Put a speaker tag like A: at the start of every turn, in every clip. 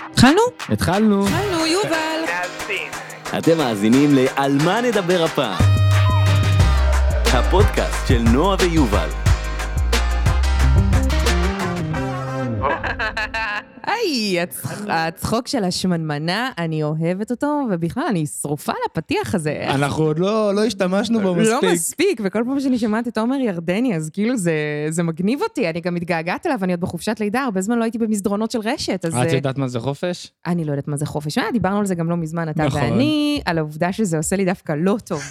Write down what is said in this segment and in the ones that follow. A: התחלנו?
B: התחלנו.
A: התחלנו, יובל.
C: אתם מאזינים ל"על מה נדבר הפעם". הפודקאסט של נועה ויובל.
A: היי, הצ- הצחוק של השמנמנה, אני אוהבת אותו, ובכלל, אני שרופה על הפתיח הזה. איך
B: אנחנו עוד לא, לא השתמשנו בו
A: לא
B: מספיק.
A: מספיק, וכל פעם שאני שומעת את עומר ירדני, אז כאילו זה, זה מגניב אותי, אני גם מתגעגעת אליו, אני עוד בחופשת לידה, הרבה זמן לא הייתי במסדרונות של רשת, אז
B: את
A: אה,
B: יודעת מה זה חופש?
A: אני לא יודעת מה זה חופש. אה, דיברנו על זה גם לא מזמן, אתה
B: נכון.
A: ואני, על העובדה שזה עושה לי דווקא לא טוב,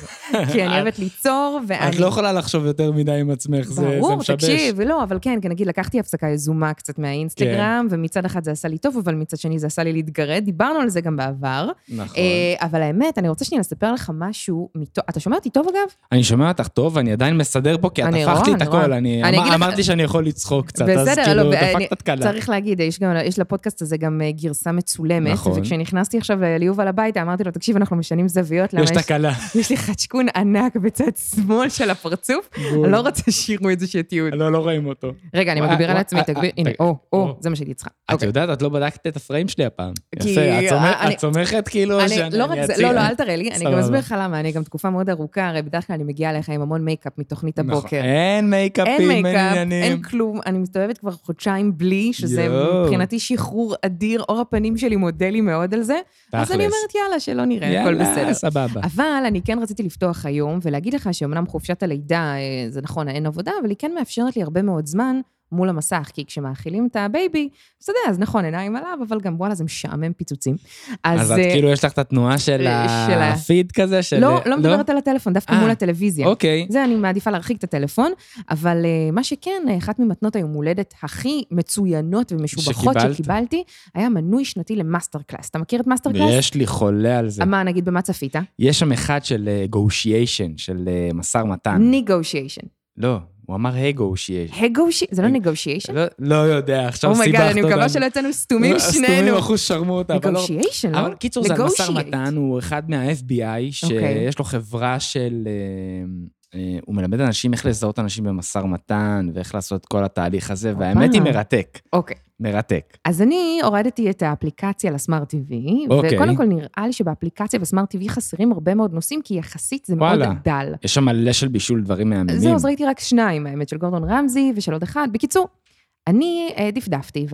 A: כי אני אוהבת ליצור, ואני...
B: את לא יכולה לחשוב יותר מדי עם עצמך, זה, זה
A: ברור,
B: משבש.
A: תקשיב, לא, אבל כן, כן, נגיד, לקחתי הפסקה יזומה קצת מהאינסטגרם,
B: כן.
A: ומצד אחד זה עשה לי טוב, אבל מצד שני זה עשה לי להתגרד, דיברנו על זה גם בעבר.
B: נכון.
A: אה, אבל האמת, אני רוצה שנייה לספר לך משהו מתו... אתה שומע אותי טוב, אגב?
B: אני שומע אותך טוב, אני עדיין מסדר פה, כי את
A: אני
B: הפכת לי
A: רואה,
B: את
A: אני רואה.
B: הכל. אני
A: אני
B: אמר-
A: אגיד לך-
B: אמרתי שאני יכול לצחוק קצת, אז
A: בסדר,
B: כאילו,
A: לא, אני-
B: דפקת את קלה.
A: צריך להגיד, יש, גם, יש לפודקאסט הזה גם אה, גרסה מצולמת.
B: נכון.
A: וכשנכנסתי עכשיו ל- ליובל הביתה, אמרתי לו, תקשיב, אנחנו משנים זוויות, למה
B: יש תקלה.
A: יש לי חדשקון ענק בצד שמאל של הפרצוף, אני לא רוצה שיראו את זה שתיעוד.
B: לא, לא רואים אותו.
A: רגע, אני
B: וואי,
A: מגביר על
B: וואי,
A: עצמי,
B: אה,
A: תגביר,
B: אה,
A: הנה,
B: תג-
A: או, או,
B: או.
A: זה מה שהייתי צריכה.
B: את
A: אוקיי.
B: יודעת, את לא בדקת את הפריים שלי הפעם.
A: כי- אה,
B: יפה, את סומכת-
A: אני-
B: את סומכת כאילו שאני
A: אני,
B: אציע.
A: לא רק זה, לא, לא, אל תראה לי, אני גם
B: סבבה.
A: אסביר לך למה, אני גם תקופה מאוד ארוכה, הרי בדרך כלל אני מגיעה אליך עם המון מייקאפ מתוכנית
B: נכון.
A: הבוקר.
B: אין
A: אין
B: מייקאפים, אין
A: מייקאפ,
B: עניינים.
A: אין כלום, אני מסתובבת כבר חודשיים בלי, שזה
B: יואו.
A: מבחינתי שחרור אדיר, אור הפנים שלי מודה לי מאוד על זה. אז אני
B: תכלס.
A: אומרת, יאללה, שלא נראה, הכל
B: יאללה,
A: בסדר.
B: סבבה.
A: אבל אני כן רציתי לפתוח היום ולהגיד לך שאומנם חופשת הלידה, אה, זה נכון, אין עבודה, אבל היא כן מאפשרת לי הרבה מאוד זמן מול המסך, כי כשמאכילים את הבייבי, אז אתה יודע, אז נכון, עיניים עליו, אבל גם וואלה, זה משעמם פיצוצים. אז,
B: אז את
A: אה,
B: כאילו יש לך את התנועה של
A: אה, של ה-
B: הפיד כזה? של...
A: לא, לא מדברת על הטלפון, דווקא
B: אה,
A: מול הטלוויזיה.
B: אוקיי.
A: זה, אני מעדיפה להרחיק את הטלפון, אבל אה, מה שכן, אה, אחת ממתנות היום הולדת הכי מצוינות ומשובחות
B: שקיבלת.
A: שקיבלתי, היה מנוי שנתי למאסטר קלאס. אתה מכיר את מאסטר קלאס?
B: ויש לי חולה על זה.
A: מה, נגיד, במה צפית?
B: יש שם אחד של גושיישן, של אה, משא ומתן.
A: ניגושיישן.
B: לא, הוא אמר היי גושיישן.
A: הגושי... זה לא
B: נג-
A: ניגושיישן?
B: לא יודע, אה, עכשיו סיבכת אותנו.
A: אומייגאד, Oh אני מקווה שלא יצאנו סתומים שנינו.
B: אה, סתומים לא, אחוז שרמוטה, אבל לא...
A: נגושיישן, לא?
B: אבל קיצור, זה המשא
A: Negotiate.
B: ומתן, הוא אחד מה-FBI,
A: אוקיי.
B: שיש לו חברה של... אה, אה, הוא מלמד אנשים איך לזהות אנשים במשא ומתן, ואיך לעשות את כל התהליך הזה, והאמת היא מרתק,
A: אוקיי.
B: מרתק.
A: אז אני הורדתי את האפליקציה לסמארט TV,
B: אוקיי.
A: וקודם כל נראה לי שבאפליקציה בסמארט TV חסרים הרבה מאוד נושאים, כי יחסית זה מאוד
B: וואלה.
A: דל.
B: יש שם מלא של בישול דברים מהממים.
A: זהו, אז ראיתי רק שניים, האמת, של גורדון רמזי ושל עוד אחד. בקיצור, אני אה, דפדפתי,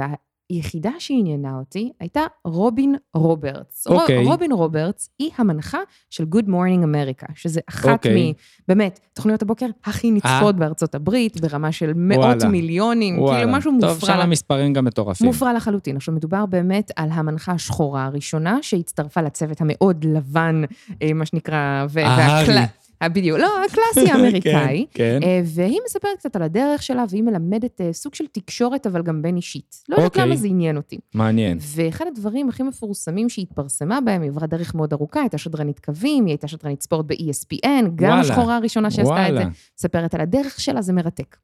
A: והיחידה שעניינה אותי הייתה רובין רוברטס. רו-
B: אוקיי.
A: רובין רוברטס היא המנחה של Good Morning America, שזה אחת מ...
B: אוקיי. אה?
A: באמת, תוכניות הבוקר הכי נצפות בארצות הברית, ברמה של מאות
B: וואלה.
A: מיליונים, כאילו משהו
B: טוב, שם
A: מופרע.
B: המספרים גם מטורפים.
A: מופרע לחלוטין. עכשיו, מדובר באמת על המנחה השחורה הראשונה, שהצטרפה לצוות המאוד לבן, אה, מה שנקרא, ו-
B: ההארי.
A: והקל- בדיוק, לא, הקלאסי האמריקאי.
B: כן, כן.
A: אה, והיא מספרת קצת על הדרך שלה, והיא מלמדת אה, סוג של תקשורת, אבל גם בין אישית. לא יודעת
B: אוקיי.
A: למה זה עניין אותי.
B: מעניין.
A: ואחד הדברים הכי מפורסמים שהיא התפרסמה בהם, היא עברה דרך מאוד ארוכה, הייתה שדרנית קווים, היא הייתה שדרנית ספורט ב-ESPN, גם
B: וואלה.
A: השחורה הראשונה שעשתה את זה.
B: וואלה,
A: מספרת על הדרך שלה, זה מרתק.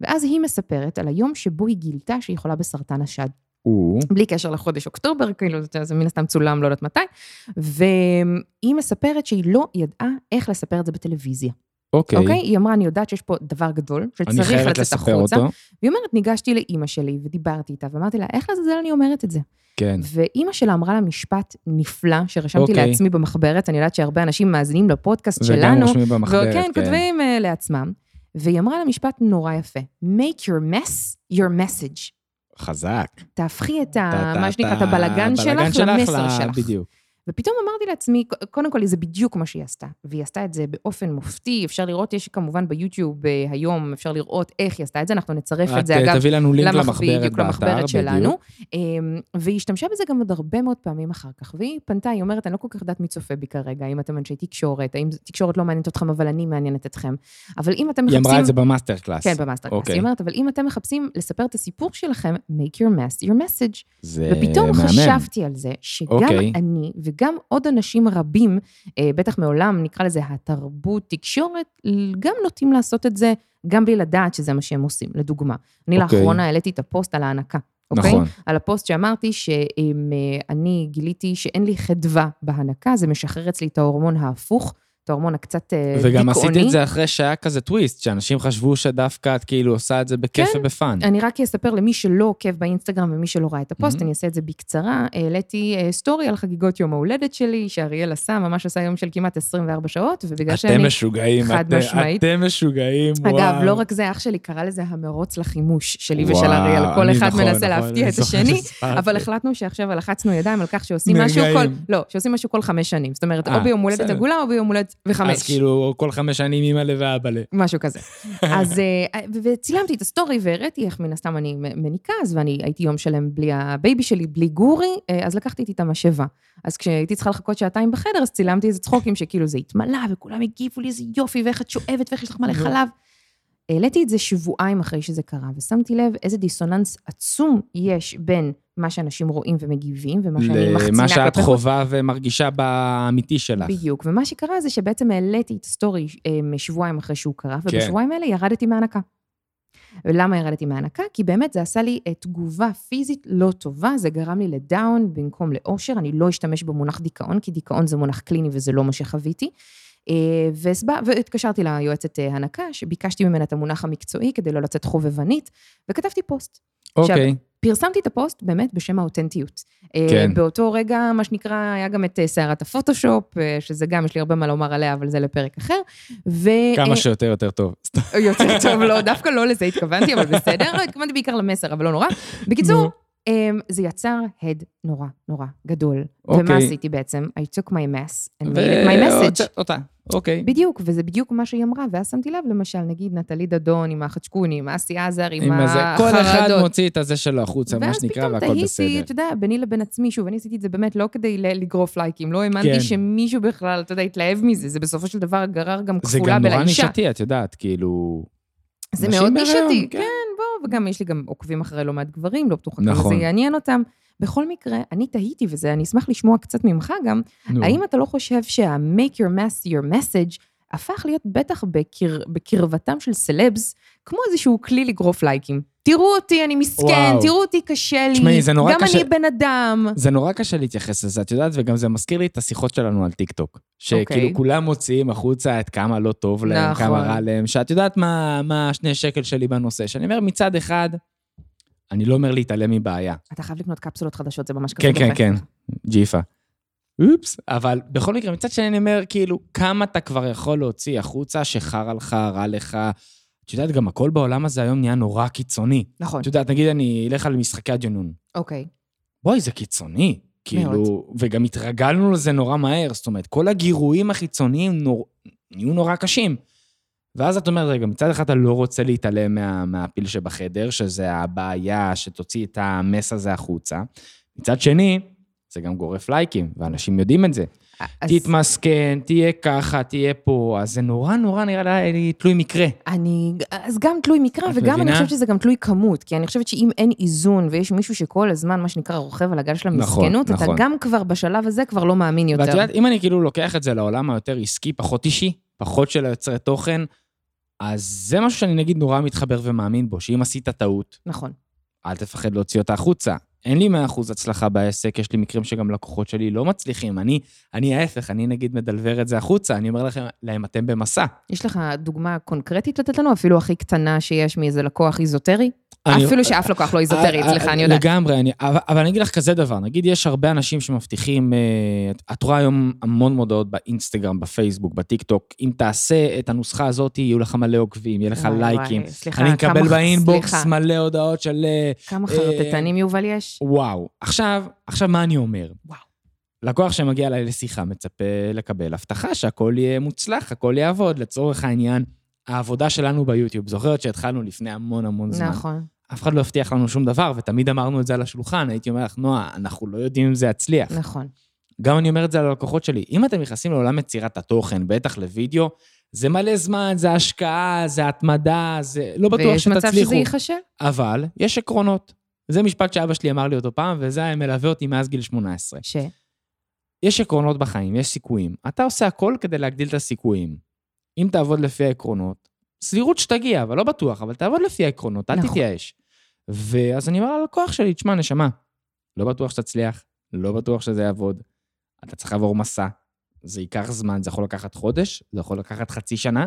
A: ואז היא מספרת על היום שבו היא גילתה שהיא חולה בסרטן השד.
B: הוא...
A: בלי קשר לחודש אוקטובר, כאילו זה- זה מן הסתם צולם, לא יודעת מתי. והיא מספרת שהיא לא ידעה איך לספר את זה בטלוויזיה,
B: אוקיי.
A: אוקיי? היא אמרה, אני יודעת שיש פה דבר גדול,
B: אני
A: שצריך
B: חייבת
A: לצאת
B: לספר
A: החוצה.
B: אותו.
A: והיא אומרת, ניגשתי לאימא שלי ודיברתי איתה, ואמרתי לה, איך לזלזל אני אומרת את זה?
B: כן.
A: ואימא שלה אמרה לה משפט נפלא, שרשמתי
B: אוקיי.
A: לעצמי במחברת, אני יודעת שהרבה אנשים מאזינים לפודקאסט
B: וגם
A: שלנו.
B: רושמים במחברת, כן.
A: וכן, כותבים אה, לעצמם. והיא אמרה לה משפט נורא יפה, make your mess your message.
B: חזק.
A: תהפכי את
B: אתה-
A: ה...
B: אתה-
A: אה, מה שנקרא, את
B: אתה-
A: הבלגן שלך למסר
B: ל-
A: שלך.
B: בדיוק.
A: ופתאום אמרתי לעצמי, ק- קודם כל, זה בדיוק מה שהיא עשתה. והיא עשתה את זה באופן מופתי, אפשר לראות, יש כמובן ביוטיוב אה, היום, אפשר לראות איך היא עשתה את זה, אנחנו נצרף את
B: את
A: זה,
B: אה,
A: אגב,
B: תביא לנו לינק
A: למח-
B: למחברת
A: בדיוק,
B: באתר,
A: למחברת שלנו.
B: בדיוק.
A: אמ, והיא השתמשה בזה גם עוד הרבה מאוד פעמים אחר כך. והיא פנתה, היא אומרת, אני לא כל כך יודעת מי צופה בי כרגע, אם אתם אנשי תקשורת, האם תקשורת לא מעניינת אתכם, אבל אני מעניינת אתכם. אבל אם אתם
B: היא
A: מחפשים...
B: אמרה את זה במאסטר קלאס.
A: כן, במאסטר קלאס.
B: אוקיי.
A: היא אומרת, אבל אם אתם מחפשים לספר את הסיפור שלכם, make your mess your message.
B: זה
A: ופתאום
B: אה, מהמם.
A: חשבתי על זה, שגם
B: אוקיי.
A: אני וגם עוד אנשים רבים, אה, בטח מעולם, נקרא לזה התרבות, תקשורת, גם נוטים לעשות את זה, גם בלי לדעת שזה מה שהם עושים. לדוגמה, אני
B: אוקיי.
A: לאחרונה העליתי את הפוסט על ההנקה, אוקיי?
B: נכון.
A: על הפוסט שאמרתי אה, שאני גיליתי שאין לי חדווה בהנקה, זה משחרר אצלי את ההורמון ההפוך. וההורמון הקצת אה, דיכאוני.
B: וגם עשית את זה אחרי שהיה כזה טוויסט, שאנשים חשבו שדווקא את כאילו עושה את זה בכיף
A: כן.
B: ובפאן.
A: אני רק אספר למי שלא עוקב באינסטגרם ומי שלא ראה את הפוסט,
B: Mhm.
A: אני אעשה את זה בקצרה. העליתי אה, סטורי על חגיגות יום ההולדת שלי, שאריאל עשה, ממש עשה יום של כמעט 24 שעות, ובגלל
B: אתם
A: שאני...
B: משוגעים,
A: חד
B: אתם-
A: משמעית.
B: אתם משוגעים, וואו.
A: אגב, לא רק זה, אח שלי קרא לזה המרוץ לחימוש שלי
B: וואו,
A: ושל אריאל, כל
B: אני-
A: אחד
B: נכון, נכון,
A: מנסה להפתיע
B: אני
A: את
B: זוכר
A: השני,
B: שסיפרת.
A: אבל החלטנו שעכשיו לחצנו ידיים על כך שעושים משהו כל...
B: נרגעים.
A: לא, שעושים משהו כל חמש שנים. זאת אומרת,
B: אה,
A: או ביום הולדת
B: בסדר.
A: עגולה או ביום הולדת וחמש.
B: אז כאילו, כל חמש שנים אימא'לה ואבאלה.
A: משהו כזה. אז אה, ו- וצילמתי את הסטורי והראיתי איך מן הסתם אני מ- מניקה, אז ואני הייתי יום שלם בלי הבייבי שלי, בלי גורי, אה, אז לקחתי איתי את המשאבה. אז כשהייתי צריכה לחכות שעתיים בחדר, אז צילמתי איזה צחוקים שכאילו זה התמלא, וכולם הגיבו לי איזה יופי, ואיך את שואבת, ואיך יש לך מלא
B: נו.
A: חלב. העליתי את זה שבועיים אחרי שזה קרה, ושמתי לב איזה דיסוננס עצום יש בין מה שאנשים רואים ומגיבים, ומה שאני מחצינה
B: למה שאת
A: כלפי חוץ.
B: חווה ומרגישה באמיתי שלך.
A: בדיוק, ומה שקרה זה שבעצם העליתי את הסטורי אה, משבועיים אחרי שהוא קרה, ובשבועיים האלה ירדתי מהנקה. ולמה ירדתי מהנקה? כי באמת זה עשה לי אה, תגובה פיזית לא טובה, זה גרם לי לדאון במקום לאושר, אני לא אשתמש במונח דיכאון, כי דיכאון זה מונח קליני וזה לא מה שחוויתי. אה, והסבא- והתקשרתי ליועצת אה, הנקה, שביקשתי ממנה את המונח המקצועי כדי לא לצאת חובבנית, וכתבתי פוסט.
B: אוקיי.
A: פרסמתי את הפוסט באמת בשם האותנטיות.
B: כן.
A: כן. באותו רגע, מה שנקרא, היה גם את אה, סערת הפוטושופ, אה, שזה גם, יש לי הרבה מה לומר עליה, אבל זה לפרק אחר. ו...
B: כמה שיותר יותר טוב. סתם.
A: אה, יותר טוב, לא, דווקא לא לזה התכוונתי, אבל בסדר, לא, התכוונתי בעיקר למסר, אבל לא נורא. בקיצור,
B: נו.
A: אמ, זה יצר הד נורא נורא גדול. ומה
B: אוקיי.
A: עשיתי בעצם? I took my mess and made it my message.
B: והוצאת אותה, אוקיי.
A: בדיוק, וזה בדיוק מה שהיא אמרה, ואז שמתי לב, למשל, נגיד נטלי דדון עם החצ'קון, עם אסי עזר, עם
B: עם הזה, כל אחד
A: החרדות.
B: מוציא את הזה שלו החוצה, מה שנקרא, והכל
A: ואז פתאום תהיתי,
B: בסדר.
A: אתה יודע, ביני לבין עצמי, שוב, אני עשיתי את זה באמת לא כדי ל- לגרוף לייקים, לא האמנתי
B: כן.
A: שמישהו בכלל, אתה יודע, התלהב מזה, זה בסופו של דבר גרר גם
B: זה
A: כפולה
B: גם נורא
A: ולאישה.
B: נישתי, את יודעת, כאילו...
A: זה
B: נשים
A: מאוד
B: בהיריון,
A: נישתי,
B: כן.
A: כן, בוא, וגם יש לי גם עוקבים אחרי לא מעט גברים, לא בטוחה כמה
B: נכון.
A: זה יעניין אותם. בכל מקרה, אני תהיתי, וזה, אני אשמח לשמוע קצת ממך גם,
B: נו.
A: האם אתה לא חושב שה-make your mess your message הפך להיות בטח בקר... בקרבתם של סלבס, כמו איזשהו כלי לגרוף לייקים? תראו אותי, אני מסכן,
B: וואו.
A: תראו אותי, קשה לי,
B: תשמעי, זה נורא
A: גם
B: קשה-
A: אני בן אדם.
B: זה נורא קשה להתייחס לזה, את יודעת, וגם זה מזכיר לי את השיחות שלנו על טיקטוק. שכאילו
A: אוקיי.
B: כולם מוציאים החוצה את כמה לא טוב להם,
A: נכון.
B: כמה רע להם, שאת יודעת מה מה השני שקל שלי בנושא, שאני אומר מצד אחד, אני לא אומר להתעלם מבעיה.
A: אתה חייב לקנות קפסולות חדשות, זה ממש
B: כן,
A: כזה
B: כן,
A: דוחה.
B: כן, ג'יפה. אופס. אבל בכל מקרה, מצד שני אני אומר, כאילו, כמה אתה כבר יכול להוציא החוצה שחרא לך, רע לך. את יודעת, גם הכל בעולם הזה היום נהיה נורא קיצוני.
A: נכון,
B: את יודעת, נגיד אני אלך על משחקי הג'נון.
A: אוקיי.
B: בואי, זה קיצוני. כאילו, וגם התרגלנו לזה נורא מהר. זאת אומרת, כל הגירויים החיצוניים נור... נהיו נורא קשים. ואז את אומרת, רגע, מצד אחד אתה לא רוצה להתעלם מה... מהפיל שבחדר, שזה הבעיה שתוציא את המס הזה החוצה. מצד שני, זה גם גורף לייקים, ואנשים יודעים את זה.
A: אז
B: תתמסכן, תהיה ככה, תהיה פה. אז זה נורא נורא נראה לי תלוי מקרה.
A: אני, אז גם תלוי מקרא,
B: את
A: וגם אני
B: מבינה?
A: חושבת שזה גם תלוי כמות, כי אני חושבת שאם אין איזון ויש מישהו שכל הזמן, מה שנקרא, רוכב על הגל של
B: נכון,
A: המסכנות, אתה
B: נכון.
A: גם כבר בשלב הזה כבר לא מאמין יותר.
B: ואת יודעת, אם אני כאילו לוקח את זה לעולם היותר עסקי, פחות אישי, פחות של היוצרי תוכן, אז זה משהו שאני נגיד נורא מתחבר ומאמין בו, שאם עשית טעות,
A: נכון.
B: אל תפחד להוציא אותה החוצה. אין לי 100% הצלחה בעסק, יש לי מקרים שגם לקוחות שלי לא מצליחים. אני, אני ההפך, אני נגיד מדלבר את זה החוצה, אני אומר לכם, להם אתם במסע.
A: יש לך דוגמה קונקרטית לתת לנו, אפילו הכי קטנה שיש מאיזה לקוח איזוטרי?
B: אני-
A: אפילו שאף לקוח לא איזוטרי
B: אה,
A: אצלך,
B: אה,
A: אני יודעת.
B: לגמרי, אני, אבל, אבל אני אגיד לך כזה דבר, נגיד יש הרבה אנשים שמבטיחים, אה, את- את רואה היום המון מודעות באינסטגרם, בפייסבוק, בטיקטוק, אם תעשה את הנוסחה הזאת, יהיו לך מלא עוקבים, יהיה לך
A: וואי, וואי,
B: לייקים.
A: סליחה,
B: אני
A: כמה-
B: מקבל באינבוקס
A: סליחה.
B: מלא הודעות של אה,
A: כמה
B: אה,
A: חרטטנים יובל יש?
B: וואו. עכשיו, עכשיו מה אני אומר?
A: וואו.
B: לקוח שמגיע אליי לשיחה מצפה לקבל הבטחה שהכל יהיה מוצלח, הכל יעבוד. לצורך העניין, העבודה שלנו ביוטיוב, זוכרת שהתחלנו לפני המון המון זמן.
A: נכון.
B: אף אחד לא הבטיח לנו שום דבר, ותמיד אמרנו את זה על השולחן, הייתי אומר לך, נועה, אנחנו לא יודעים אם זה יצליח.
A: נכון.
B: גם אני אומר את זה ללקוחות שלי, אם אתם נכנסים לעולם יצירת התוכן, בטח לוידאו, זה מלא זמן, זה השקעה, זה התמדה, זה לא בטוח
A: ויש מצב
B: שתצליחו.
A: שזה ייחשב?
B: אבל יש עקרונות. זה משפט שאבא שלי אמר לי אותו פעם, וזה היה מלווה אותי מאז גיל 18.
A: ש...
B: יש עקרונות בחיים, יש סיכויים. אתה עושה הכל כדי להגדיל את הסיכויים. אם תעבוד לפי העקרונות, סבירות שתגיע, אבל לא בטוח, אבל תעבוד לפי העקרונות, אל
A: נכון.
B: תתייאש. ואז אני אומר ללקוח שלי, תשמע, נשמה, לא בטוח שתצליח, לא בטוח שזה יעבוד, אתה צריך לעבור מסע, זה ייקח זמן, זה יכול לקחת חודש, זה יכול לקחת חצי שנה,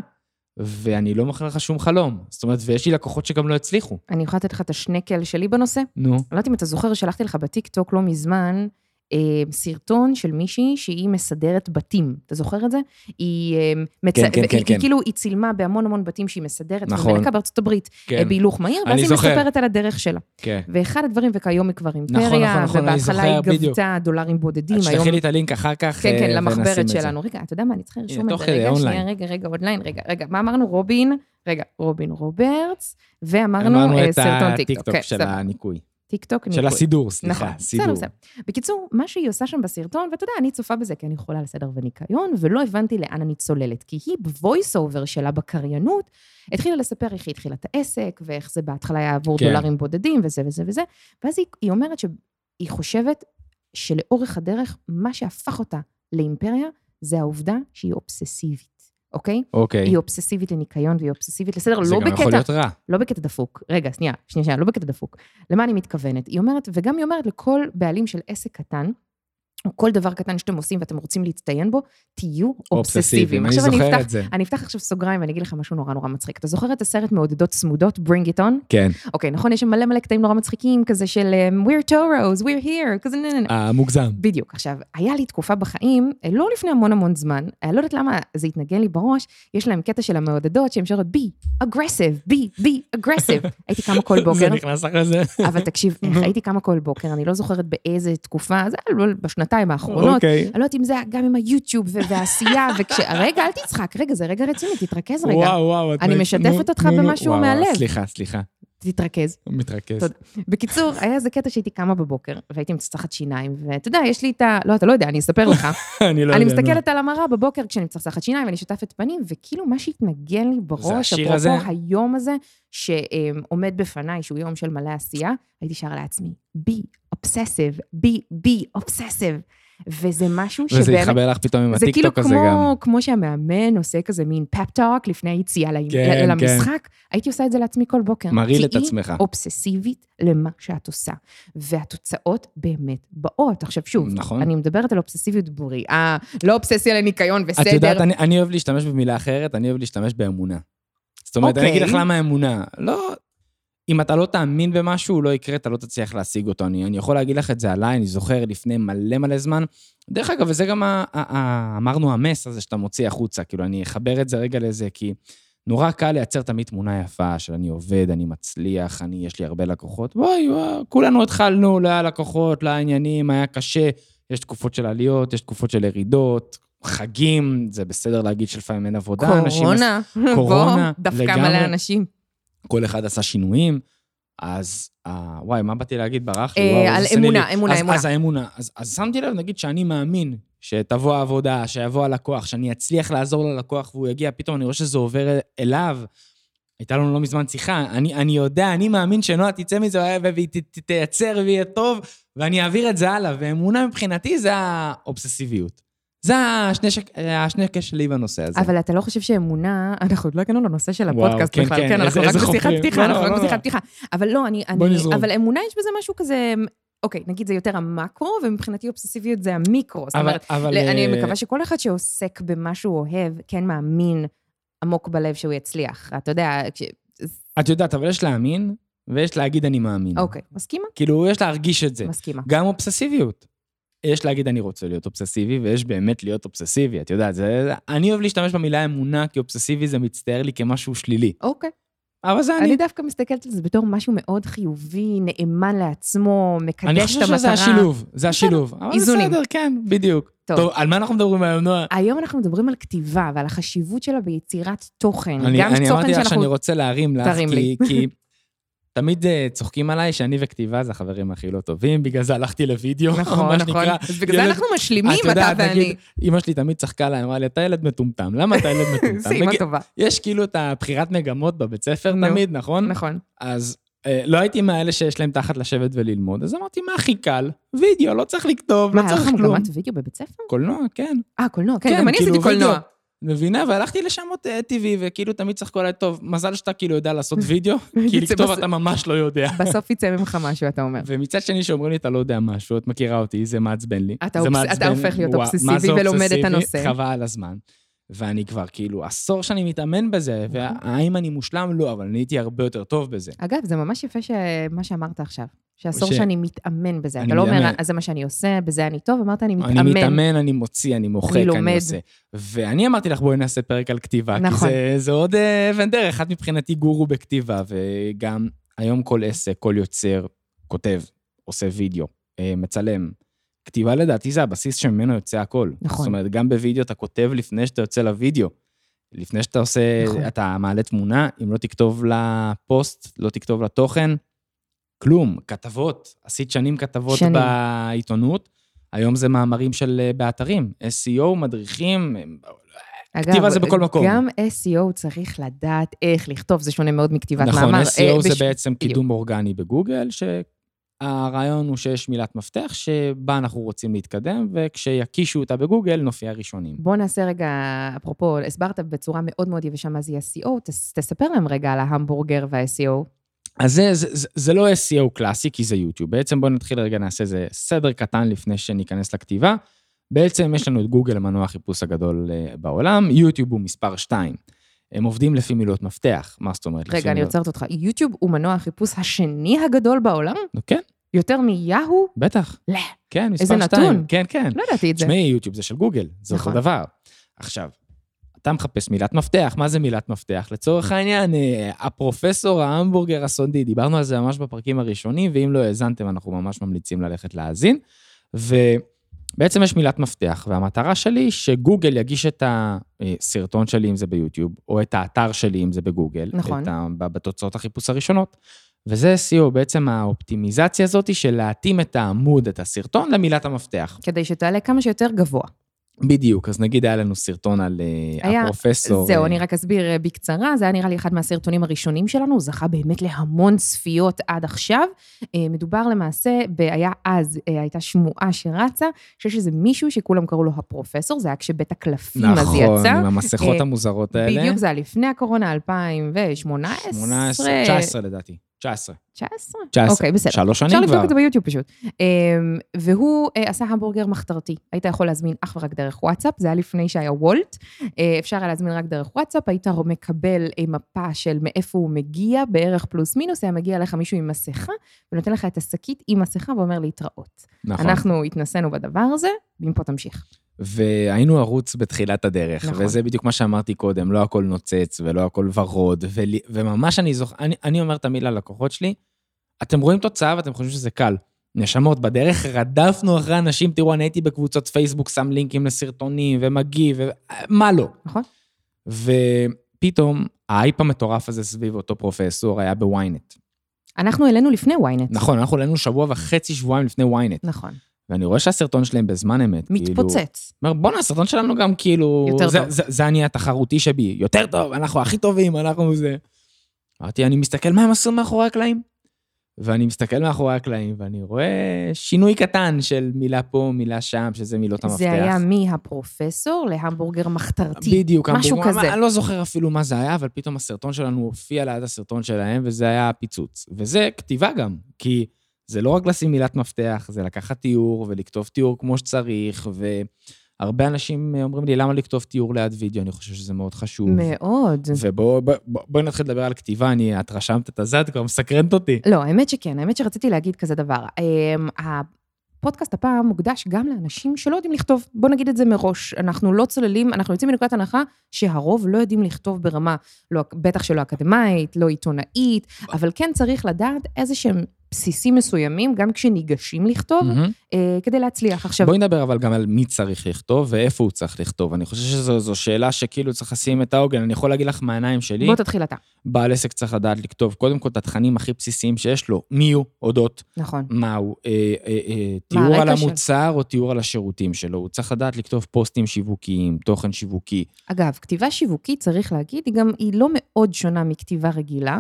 B: ואני לא מכר לך שום חלום. זאת אומרת, ויש לי לקוחות שגם לא הצליחו.
A: אני יכולה לתת לך את השנקל שלי בנושא?
B: נו.
A: אני לא יודעת אם אתה זוכר, שלחתי לך בטיקטוק לא מזמן אה, סרטון של מישהי שהיא מסדרת בתים. אתה זוכר את זה? היא, אה, מצ...
B: כן, כן,
A: היא,
B: כן,
A: היא
B: כן.
A: כאילו, היא צילמה בהמון המון בתים שהיא מסדרת,
B: נכון.
A: ומנקה בארצות הברית
B: כן.
A: אה, בהילוך מהיר,
B: אני
A: ואז היא
B: זוכר.
A: מספרת על הדרך שלה.
B: כן.
A: ואחד הדברים, וכיום היא כבר אימפריה,
B: נכון, נכון, אני
A: ובהתחלה היא
B: זוכר, בדיוק.
A: גבתה דולרים בודדים,
B: אז
A: היום
B: תשלחי לי את הלינק אחר כך,
A: כן,
B: אה,
A: כן,
B: ונשים את
A: למחברת
B: זה.
A: שלנו. רגע, אתה יודע מה, אני צריכה לרשום את
B: תוך
A: זה.
B: כדי,
A: רגע,
B: אונליין.
A: שנייה, רגע, רגע, אונליין, רגע, רגע. מה אמרנו? רובין, רגע, רובין רוברטס, ואמרנו
B: אמרנו
A: אה,
B: את
A: סרטון טיקטוק.
B: הטיקטוק
A: כן,
B: של
A: סבבה.
B: הניקוי.
A: טיקטוק
B: של
A: ניקוי.
B: הסידור, סליחה,
A: נכון, בסדר,
B: סידור.
A: בסדר. בקיצור, מה שהיא עושה שם בסרטון, ואתה יודע, אני צופה בזה כי אני חולה על סדר וניקיון, ולא הבנתי לאן אני צוללת, כי היא בוויס אובר שלה בקריינות, התחילה לספר איך היא התחילה את העסק, ואיך זה בהתחלה היה עבור
B: כן.
A: כן. דולרים בודדים, וזה וזה וזה, ואז היא, היא אומרת שהיא חושבת שלאורך הדרך, מה שהפך אותה לאימפריה, זה העובדה שהיא אובססיבית, אוקיי?
B: אוקיי.
A: היא אובססיבית לניקיון והיא אובססיבית לסדר,
B: זה
A: לא
B: גם יכול
A: בקטע
B: להיות רע.
A: לא בקטע דפוק. רגע, שנייה, שנייה, שנייה, לא בקטע דפוק. למה אני מתכוונת? היא אומרת, וגם היא אומרת לכל בעלים של עסק קטן, או כל דבר קטן שאתם עושים ואתם רוצים להצטיין בו, תהיו
B: אובססיביים,
A: אובססיביים.
B: אני
A: עכשיו
B: זוכר
A: אפתח,
B: את זה.
A: אני אפתח עכשיו סוגריים ואני אגיד לך משהו נורא נורא מצחיק. אתה זוכר את הסרט מעודדות צמודות, Bring it on?
B: כן.
A: אוקיי, נכון, יש שם מלא מלא קטעים נורא מצחיקים, כזה של אמ, We're Toros, We're here, כזה נה נה נה.
B: המוגזם.
A: בדיוק. עכשיו, היה לי תקופה בחיים, אה, לא לפני המון המון זמן, אני לא יודעת למה זה התנגן לי בראש, יש להם קטע של המעודדות שהן שרות בי, אגרסיב, בי, בי, אגרסיב. הייתי קמה כל
B: זה
A: בוקר,
B: נכנס אחרי זה.
A: אבל תקשיב, איך הייתי קמה כל בוקר, אני לא זוכרת באיזה תקופה, זה היה לא- בשנתיים האחרונות.
B: אוקיי.
A: אני לא יודעת אם זה היה גם עם היוטיוב ו- והעשייה, וכש... רגע, אל תצחק, רגע, זה רגע רציני, תתרכז רגע.
B: וואו, וואו. את
A: אני
B: מ-
A: משתפת
B: נו,
A: אותך
B: נו, נו.
A: במשהו
B: וואו,
A: מהלב.
B: וואו, סליחה, סליחה.
A: תתרכז.
B: מתרכז.
A: תודה. בקיצור, היה איזה קטע שהייתי קמה בבוקר, והייתי מצחצחת שיניים, ואתה יודע, יש לי את ה... לא, אתה לא יודע, אני אספר לך.
B: אני לא
A: אני
B: יודע, נו.
A: מסתכלת על המראה בבוקר כשאני מצחצחת שיניים ואני שוטפת פנים, וכאילו מה שהתנגן לי בראש,
B: השיר
A: אפרופו
B: הזה?
A: היום הזה, שעומד בפניי, שהוא יום של מלא עשייה, הייתי שרה לעצמי, בי אובססיב, בי בי אובססיב. וזה משהו שבאמת...
B: וזה יתחבר לך פתאום עם
A: זה כאילו
B: הטיקטוק הזה גם.
A: כמו, כמו שהמאמן עושה כזה מין פפטוק לפני היציאה כן,
B: כן,
A: למשחק, הייתי עושה את זה לעצמי כל בוקר.
B: מרעיל את
A: כי היא
B: עצמך.
A: אובססיבית למה שאת עושה. והתוצאות באמת באות. עכשיו שוב,
B: נכון.
A: אני מדברת על אובססיביות בריאה, לא אובססיה לניקיון וסדר.
B: את יודעת, אני- אני אוהב להשתמש במילה אחרת, אני אוהב להשתמש באמונה. זאת אומרת, אני אגיד לך
A: אוקיי.
B: למה אמונה. לא... אם אתה לא תאמין במשהו, הוא לא יקרה, אתה לא תצליח להשיג אותו. אני, אני יכול להגיד לך את זה עליי, אני זוכר לפני מלא מלא זמן. דרך אגב, וזה גם, ה, ה, ה, אמרנו, המס הזה שאתה מוציא החוצה. כאילו, אני אחבר את זה רגע לזה, כי נורא קל לייצר תמיד תמונה יפה של אני עובד, אני מצליח, אני, יש לי הרבה לקוחות. וואי, וואי, כולנו התחלנו, לא היה לקוחות, לא היה עניינים, היה קשה. יש תקופות של עליות, יש תקופות של ירידות, חגים, זה בסדר להגיד שלפעמים אין עבודה. אנשים
A: קורונה,
B: קורונה,
A: בוא, דווקא
B: לגמרי.
A: מלא אנשים.
B: כל אחד עשה שינויים, אז, אה, וואי, מה באתי להגיד? ברח לי,
A: אה,
B: וואו, איזה
A: על
B: סנילי.
A: אמונה, אמונה,
B: אז,
A: אמונה.
B: אז האמונה. אז, אז שמתי לב, נגיד, שאני מאמין שתבוא העבודה, שיבוא הלקוח, שאני אצליח לעזור ללקוח והוא יגיע, פתאום אני רואה שזה עובר אל- אליו. הייתה לנו לא מזמן שיחה, אני, אני יודע, אני מאמין שנועה תצא מזה ו- והיא ת- ת- תייצר ויהיה טוב, ואני אעביר את זה הלאה. ואמונה מבחינתי זה האובססיביות. זה השני, שק, השני שלי בנושא הזה.
A: אבל אתה לא חושב שאמונה, אנחנו עוד לא הגענו לנושא של
B: וואו,
A: הפודקאסט
B: כן,
A: בכלל,
B: כן,
A: כן, אנחנו
B: איזה-
A: רק
B: איזה
A: בשיחת
B: חוקרים.
A: פתיחה,
B: לא,
A: אנחנו
B: לא,
A: רק
B: לא,
A: בשיחת
B: לא.
A: פתיחה. אבל לא, אני...
B: בוא
A: אני-
B: נזרום.
A: אבל אמונה יש בזה משהו כזה, אוקיי, נגיד זה יותר המקרו, ומבחינתי אובססיביות זה המיקרו. זאת אומרת,
B: אבל,
A: ל- אני
B: אה,
A: מקווה שכל אחד שעוסק במה שהוא אוהב, כן מאמין עמוק בלב שהוא יצליח. אתה יודע, כש-
B: כן. את יודעת, אבל יש להאמין, ויש להגיד אני מאמין.
A: אוקיי, מסכימה?
B: כאילו, יש להרגיש את זה.
A: מסכימה.
B: גם אובססיביות. יש להגיד אני רוצה להיות אובססיבי, ויש באמת להיות אובססיבי, את יודעת, זה... אני אוהב להשתמש במילה אמונה, כי אובססיבי זה מצטער לי כמשהו שלילי.
A: אוקיי.
B: אבל זה אני.
A: אני דווקא מסתכלת על זה בתור משהו מאוד חיובי, נאמן לעצמו, מקדש את
B: אני
A: המטרה.
B: חושב שזה השילוב, זה השילוב. אבל
A: איזונים.
B: בסדר, כן, בדיוק.
A: טוב.
B: טוב, על מה אנחנו מדברים היום, נועה?
A: היום אנחנו מדברים על כתיבה ועל החשיבות שלה ביצירת תוכן.
B: אני,
A: גם
B: אני
A: תוכן
B: אמרתי לך
A: שאנחנו...
B: שאני רוצה להרים לך,
A: תרים
B: כי,
A: לי.
B: כי תמיד אה, צוחקים עליי שאני וכתיבה זה החברים הכי לא טובים, בגלל זה הלכתי לוידאו,
A: נכון,
B: מה
A: נכון.
B: שנקרא.
A: אז בגלל זה
B: ילד-
A: אנחנו משלימים,
B: את
A: אתה
B: יודעת,
A: ואני.
B: נגיד, אמא שלי תמיד צחקה עליי, אמרה לי, אתה ילד מטומטם, למה אתה ילד מטומטם?
A: זה אימא
B: נגיד,
A: טובה,
B: יש כאילו את הבחירת מגמות בבית ספר
A: נו.
B: תמיד, נכון?
A: נכון.
B: אז אה, לא הייתי מהאלה שיש להם תחת לשבת וללמוד, אז אמרתי, מה הכי קל? וידאו, לא צריך לכתוב,
A: מה,
B: לא
A: היה לך
B: צריך כלום.
A: מגמת וידאו בבית ספר?
B: קולנוע, כן.
A: אה, קולנוע, כן, גם אני
B: כאילו,
A: עשיתי
B: וידאו.
A: קולנוע.
B: מבינה? והלכתי לשם עוד אה, טבעי, וכאילו תמיד צחקו עליי, טוב, מזל שאתה כאילו יודע לעשות וידאו, כי
A: זה
B: לכתוב
A: בס-
B: אתה ממש לא יודע.
A: בסוף יצא ממך משהו, אתה אומר.
B: ומצד שני, שאומרים לי, אתה לא יודע משהו, את מכירה אותי, זה מעצבן לי.
A: אתה
B: זה
A: אובס-
B: מעצבן,
A: אתה הופך להיות
B: וואו, מה
A: אובססיבי
B: זה
A: ולומד את
B: אובססיבי?
A: הנושא.
B: חבל על הזמן. ואני כבר כאילו עשור שאני מתאמן בזה,
A: אוקיי.
B: והאם אני מושלם? לא, אבל נהייתי הרבה יותר טוב בזה.
A: אגב, זה ממש יפה ש- מה שאמרת עכשיו. שעשור
B: ש-
A: שאני מתאמן בזה.
B: אני
A: אתה לא אומר,
B: מתאמן.
A: "אה, זה מה שאני עושה, בזה אני טוב, אמרת, אני
B: אני
A: מתאמן.
B: מתאמן, אני מוציא, אני מוחק,
A: אני
B: אני,
A: לומד.
B: אני עושה. ואני אמרתי לך, בואי נעשה פרק על כתיבה,
A: נכון.
B: נכון. כי זה, זה עוד אה, אבן דרך. את מבחינתי גורו בכתיבה, וגם היום כל עסק, כל יוצר, כותב, עושה וידאו, אה, מצלם. כתיבה לדעתי זה הבסיס שממנו יוצא הכל.
A: נכון.
B: זאת אומרת, גם בווידאו אתה כותב לפני שאתה יוצא לוידאו. לפני שאתה עושה,
A: נכון.
B: נכון. אתה מעלה תמונה, אם לא תכתוב לה פוסט, לא תכתוב לה תוכן, כלום. כתבות, עשית שנים כתבות
A: שנים.
B: שנים. בעיתונות, היום זה מאמרים של אה, באתרים, SEO, מדריכים, הם-
A: אגב,
B: כתיבה זה בכל מקום.
A: גם SEO צריך לדעת איך לכתוב, זה שונה מאוד מכתיבת מאמר.
B: נכון,
A: אה,
B: SEO זה
A: בש-
B: בעצם קידום אורגני בגוגל, שהרעיון הוא שיש מילת מפתח שבה אנחנו רוצים להתקדם, וכשיקישו אותה בגוגל, נופיע ראשונים.
A: בוא נעשה רגע, אפרופו, הסברת בצורה מאוד מאוד יבשה מה זה SEO, תס- תספר להם רגע על ההמבורגר E וה-SEO.
B: אז זה, זה, זה, זה לא SEO קלאסי, כי זה יוטיוב. בעצם בואו נתחיל רגע, נעשה איזה סדר קטן לפני שניכנס לכתיבה. בעצם יש לנו את גוגל, מנוע החיפוש הגדול אה, בעולם, יוטיוב הוא מספר 2. הם עובדים לפי מילות מפתח, מה זאת אומרת? לפי
A: רגע, אני
B: מילות-
A: עוצרת אותך. יוטיוב הוא מנוע החיפוש השני הגדול בעולם?
B: נו, כן,
A: יותר מיהו?
B: בטח.
A: לא.
B: כן, מספר
A: איזה
B: 2.
A: נתון.
B: כן, כן.
A: לא ידעתי את זה.
B: תשמעי, יוטיוב זה של גוגל, זה
A: נכון.
B: אותו דבר. עכשיו, אתה מחפש מילת מפתח, מה זה מילת מפתח? לצורך העניין, אה, הפרופסור ההמבורגר הסודי, דיברנו על זה ממש בפרקים הראשונים, ואם לא האזנתם, אנחנו ממש ממליצים ללכת להאזין. ובעצם יש מילת מפתח, והמטרה שלי היא שגוגל יגיש את הסרטון שלי, אם זה ביוטיוב, או את האתר שלי, אם זה בגוגל,
A: נכון.
B: את ה... בתוצאות החיפוש הראשונות. וזה SEO, בעצם האופטימיזציה הזאת היא של להתאים את העמוד, את הסרטון, למילת המפתח.
A: כדי שתעלה כמה שיותר גבוה.
B: בדיוק, אז נגיד היה לנו סרטון על אה,
A: היה-
B: הפרופסור.
A: זהו,
B: אה,
A: אני רק אסביר אה, בקצרה, זה היה נראה לי אחד מהסרטונים הראשונים שלנו, הוא זכה באמת להמון צפיות עד עכשיו. אה, מדובר למעשה, ב- היה אז, אה, הייתה שמועה שרצה, שיש איזה מישהו שכולם קראו לו הפרופסור, זה היה כשבית הקלפים אז
B: נכון,
A: יצא.
B: עם המסכות
A: אה,
B: המוזרות האלה.
A: בדיוק, זה היה לפני הקורונה, 2018.
B: 18, 19 לדעתי. 19.
A: 19?
B: 19.
A: אוקיי, בסדר.
B: שלוש שנים
A: אפשר
B: כבר.
A: לבדוק את זה ביוטיוב פשוט. אמ, והוא אה, עשה המבורגר מחתרתי. היית יכול להזמין אך ורק דרך וואטסאפ, זה היה לפני שהיה וולט. אה, אפשר היה להזמין רק דרך וואטסאפ, היית מקבל אה, מפה של מאיפה הוא מגיע, בערך פלוס מינוס, היה מגיע אליך מישהו עם מסכה, ונותן לך את השקית עם מסכה ואומר להתראות.
B: נכון.
A: אנחנו התנסינו בדבר הזה, ומפה תמשיך.
B: והיינו ערוץ בתחילת הדרך,
A: נכון.
B: נכון. וזה בדיוק מה שאמרתי קודם, לא הכל נוצץ ולא הכל ורוד, ולי, וממש אני זוכר, אני, אני אומר תמיד ללקוחות שלי, אתם רואים תוצאה ואתם חושבים שזה קל. נשמות, בדרך רדפנו אחרי אנשים, תראו, אני הייתי בקבוצות פייסבוק, שם לינקים לסרטונים ומגיב, ומה לא.
A: נכון.
B: ופתאום, האייפ המטורף הזה סביב אותו פרופסור היה בוויינט.
A: אנחנו העלינו לפני ynet.
B: נכון, אנחנו עלינו שבוע וחצי, שבועיים לפני ynet.
A: נכון.
B: ואני רואה שהסרטון שלהם בזמן אמת, כאילו...
A: מתפוצץ.
B: אומר, בואנה, הסרטון שלנו גם כאילו...
A: יותר
B: זה,
A: טוב.
B: זה, זה אני התחרותי שבי, יותר טוב, אנחנו הכי טובים, אנחנו זה... אמרתי, אני מסתכל מה הם עשו מאחורי הקלעים. ואני מסתכל מאחורי הקלעים, ואני רואה שינוי קטן של מילה פה, מילה שם, שזה מילות המפתח.
A: זה היה מהפרופסור להמבורגר מחתרתי.
B: בדיוק,
A: משהו
B: המבורגר,
A: כזה.
B: אני לא זוכר אפילו מה זה היה, אבל פתאום הסרטון שלנו הופיע ליד הסרטון שלהם, וזה היה פיצוץ. וזה כתיבה גם, כי זה לא רק לשים מילת מפתח, זה לקחת תיאור ולכתוב תיאור כמו שצריך, והרבה אנשים אומרים לי, למה לכתוב תיאור ליד וידאו? אני חושב שזה מאוד חשוב.
A: מאוד.
B: ובואי בוא, בוא, בואי נתחיל לדבר על כתיבה, אני, את רשמת את הזה, את כבר מסקרנת אותי.
A: לא, האמת שכן, האמת שרציתי להגיד כזה דבר. אמ, הפודקאסט הפעם מוקדש גם לאנשים שלא יודעים לכתוב. בוא נגיד את זה מראש. אנחנו לא צוללים, אנחנו יוצאים מנקודת הנחה שהרוב לא יודעים לכתוב ברמה, לא, בטח שלא אקדמאית, לא עיתונאית, אבל כן צריך לדעת איזה שהם בסיסים מסוימים, גם כשניגשים לכתוב,
B: מהמם.
A: אה, כדי להצליח. עכשיו,
B: בואי נדבר אבל גם על מי צריך לכתוב ואיפה הוא צריך לכתוב. אני חושב שזו זו שאלה שכאילו צריך לשים את העוגן. אני יכול להגיד לך מהעיניים שלי,
A: בוא תתחיל אתה.
B: בעל עסק צריך לדעת לכתוב קודם כל את התכנים הכי בסיסיים שיש לו, מי הוא, אודות,
A: נכון.
B: מהו, אה, אה, אה,
A: מה
B: תיאור
A: הרקע
B: על
A: שלו?
B: המוצר או תיאור על השירותים שלו. הוא צריך לדעת לכתוב פוסטים שיווקיים, תוכן שיווקי.
A: אגב, כתיבה שיווקית, צריך להגיד, היא גם, היא לא מאוד שונה מכתיבה רגילה.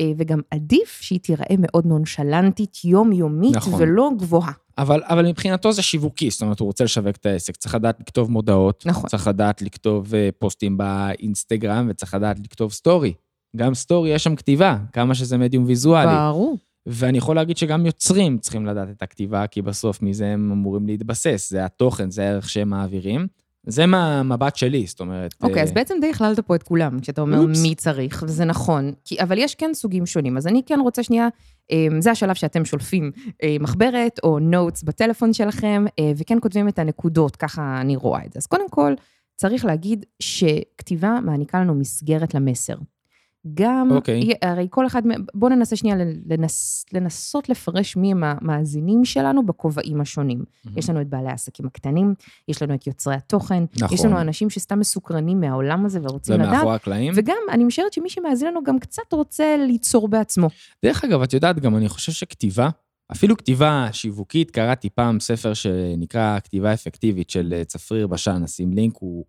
A: אה, וגם עדיף שהיא תיראה מאוד נונשלנטית, יומיומית,
B: נכון.
A: ולא גבוהה.
B: אבל, אבל מבחינתו זה שיווקי, זאת אומרת, הוא רוצה לשווק את העסק. צריך לדעת לכתוב מודעות,
A: נכון.
B: צריך לדעת לכתוב אה, פוסטים באינסטגרם, וצריך לדעת לכתוב סטורי. גם סטורי, יש שם כתיבה, כמה שזה מדיום ויזואלי.
A: ברור.
B: ואני יכול להגיד שגם יוצרים צריכים לדעת את הכתיבה, כי בסוף מזה הם אמורים להתבסס, זה התוכן, זה הערך שהם מעבירים. זה מהמבט שלי, זאת אומרת...
A: אוקיי,
B: אה,
A: אז בעצם די הכללת פה את כולם, כשאתה אומר
B: אופס.
A: מי צריך, וזה נכון. כי, אבל יש כן סוגים שונים, אז אני כן רוצה שנייה, אמ, זה השלב שאתם שולפים אה, מחברת או נוטס בטלפון שלכם, אה, וכן כותבים את הנקודות, ככה אני רואה את זה. אז קודם כל, צריך להגיד שכתיבה מעניקה לנו מסגרת למסר. גם,
B: אוקיי.
A: י- הרי כל אחד, מ- בואו ננסה שנייה לנס, לנסות לפרש מי הם המאזינים שלנו בכובעים השונים.
B: מהמם.
A: יש לנו את בעלי העסקים הקטנים, יש לנו את יוצרי התוכן,
B: נכון.
A: יש לנו אנשים שסתם מסוקרנים מהעולם הזה
B: זה
A: ורוצים לדעת,
B: מאחורי הקלעים.
A: וגם, אני משערת שמי שמאזין לנו גם קצת רוצה ליצור בעצמו.
B: דרך אגב, את יודעת, גם אני חושב שכתיבה, אפילו כתיבה שיווקית, קראתי פעם ספר שנקרא כתיבה אפקטיבית של אה, צפריר בשן, נשים לינק, הוא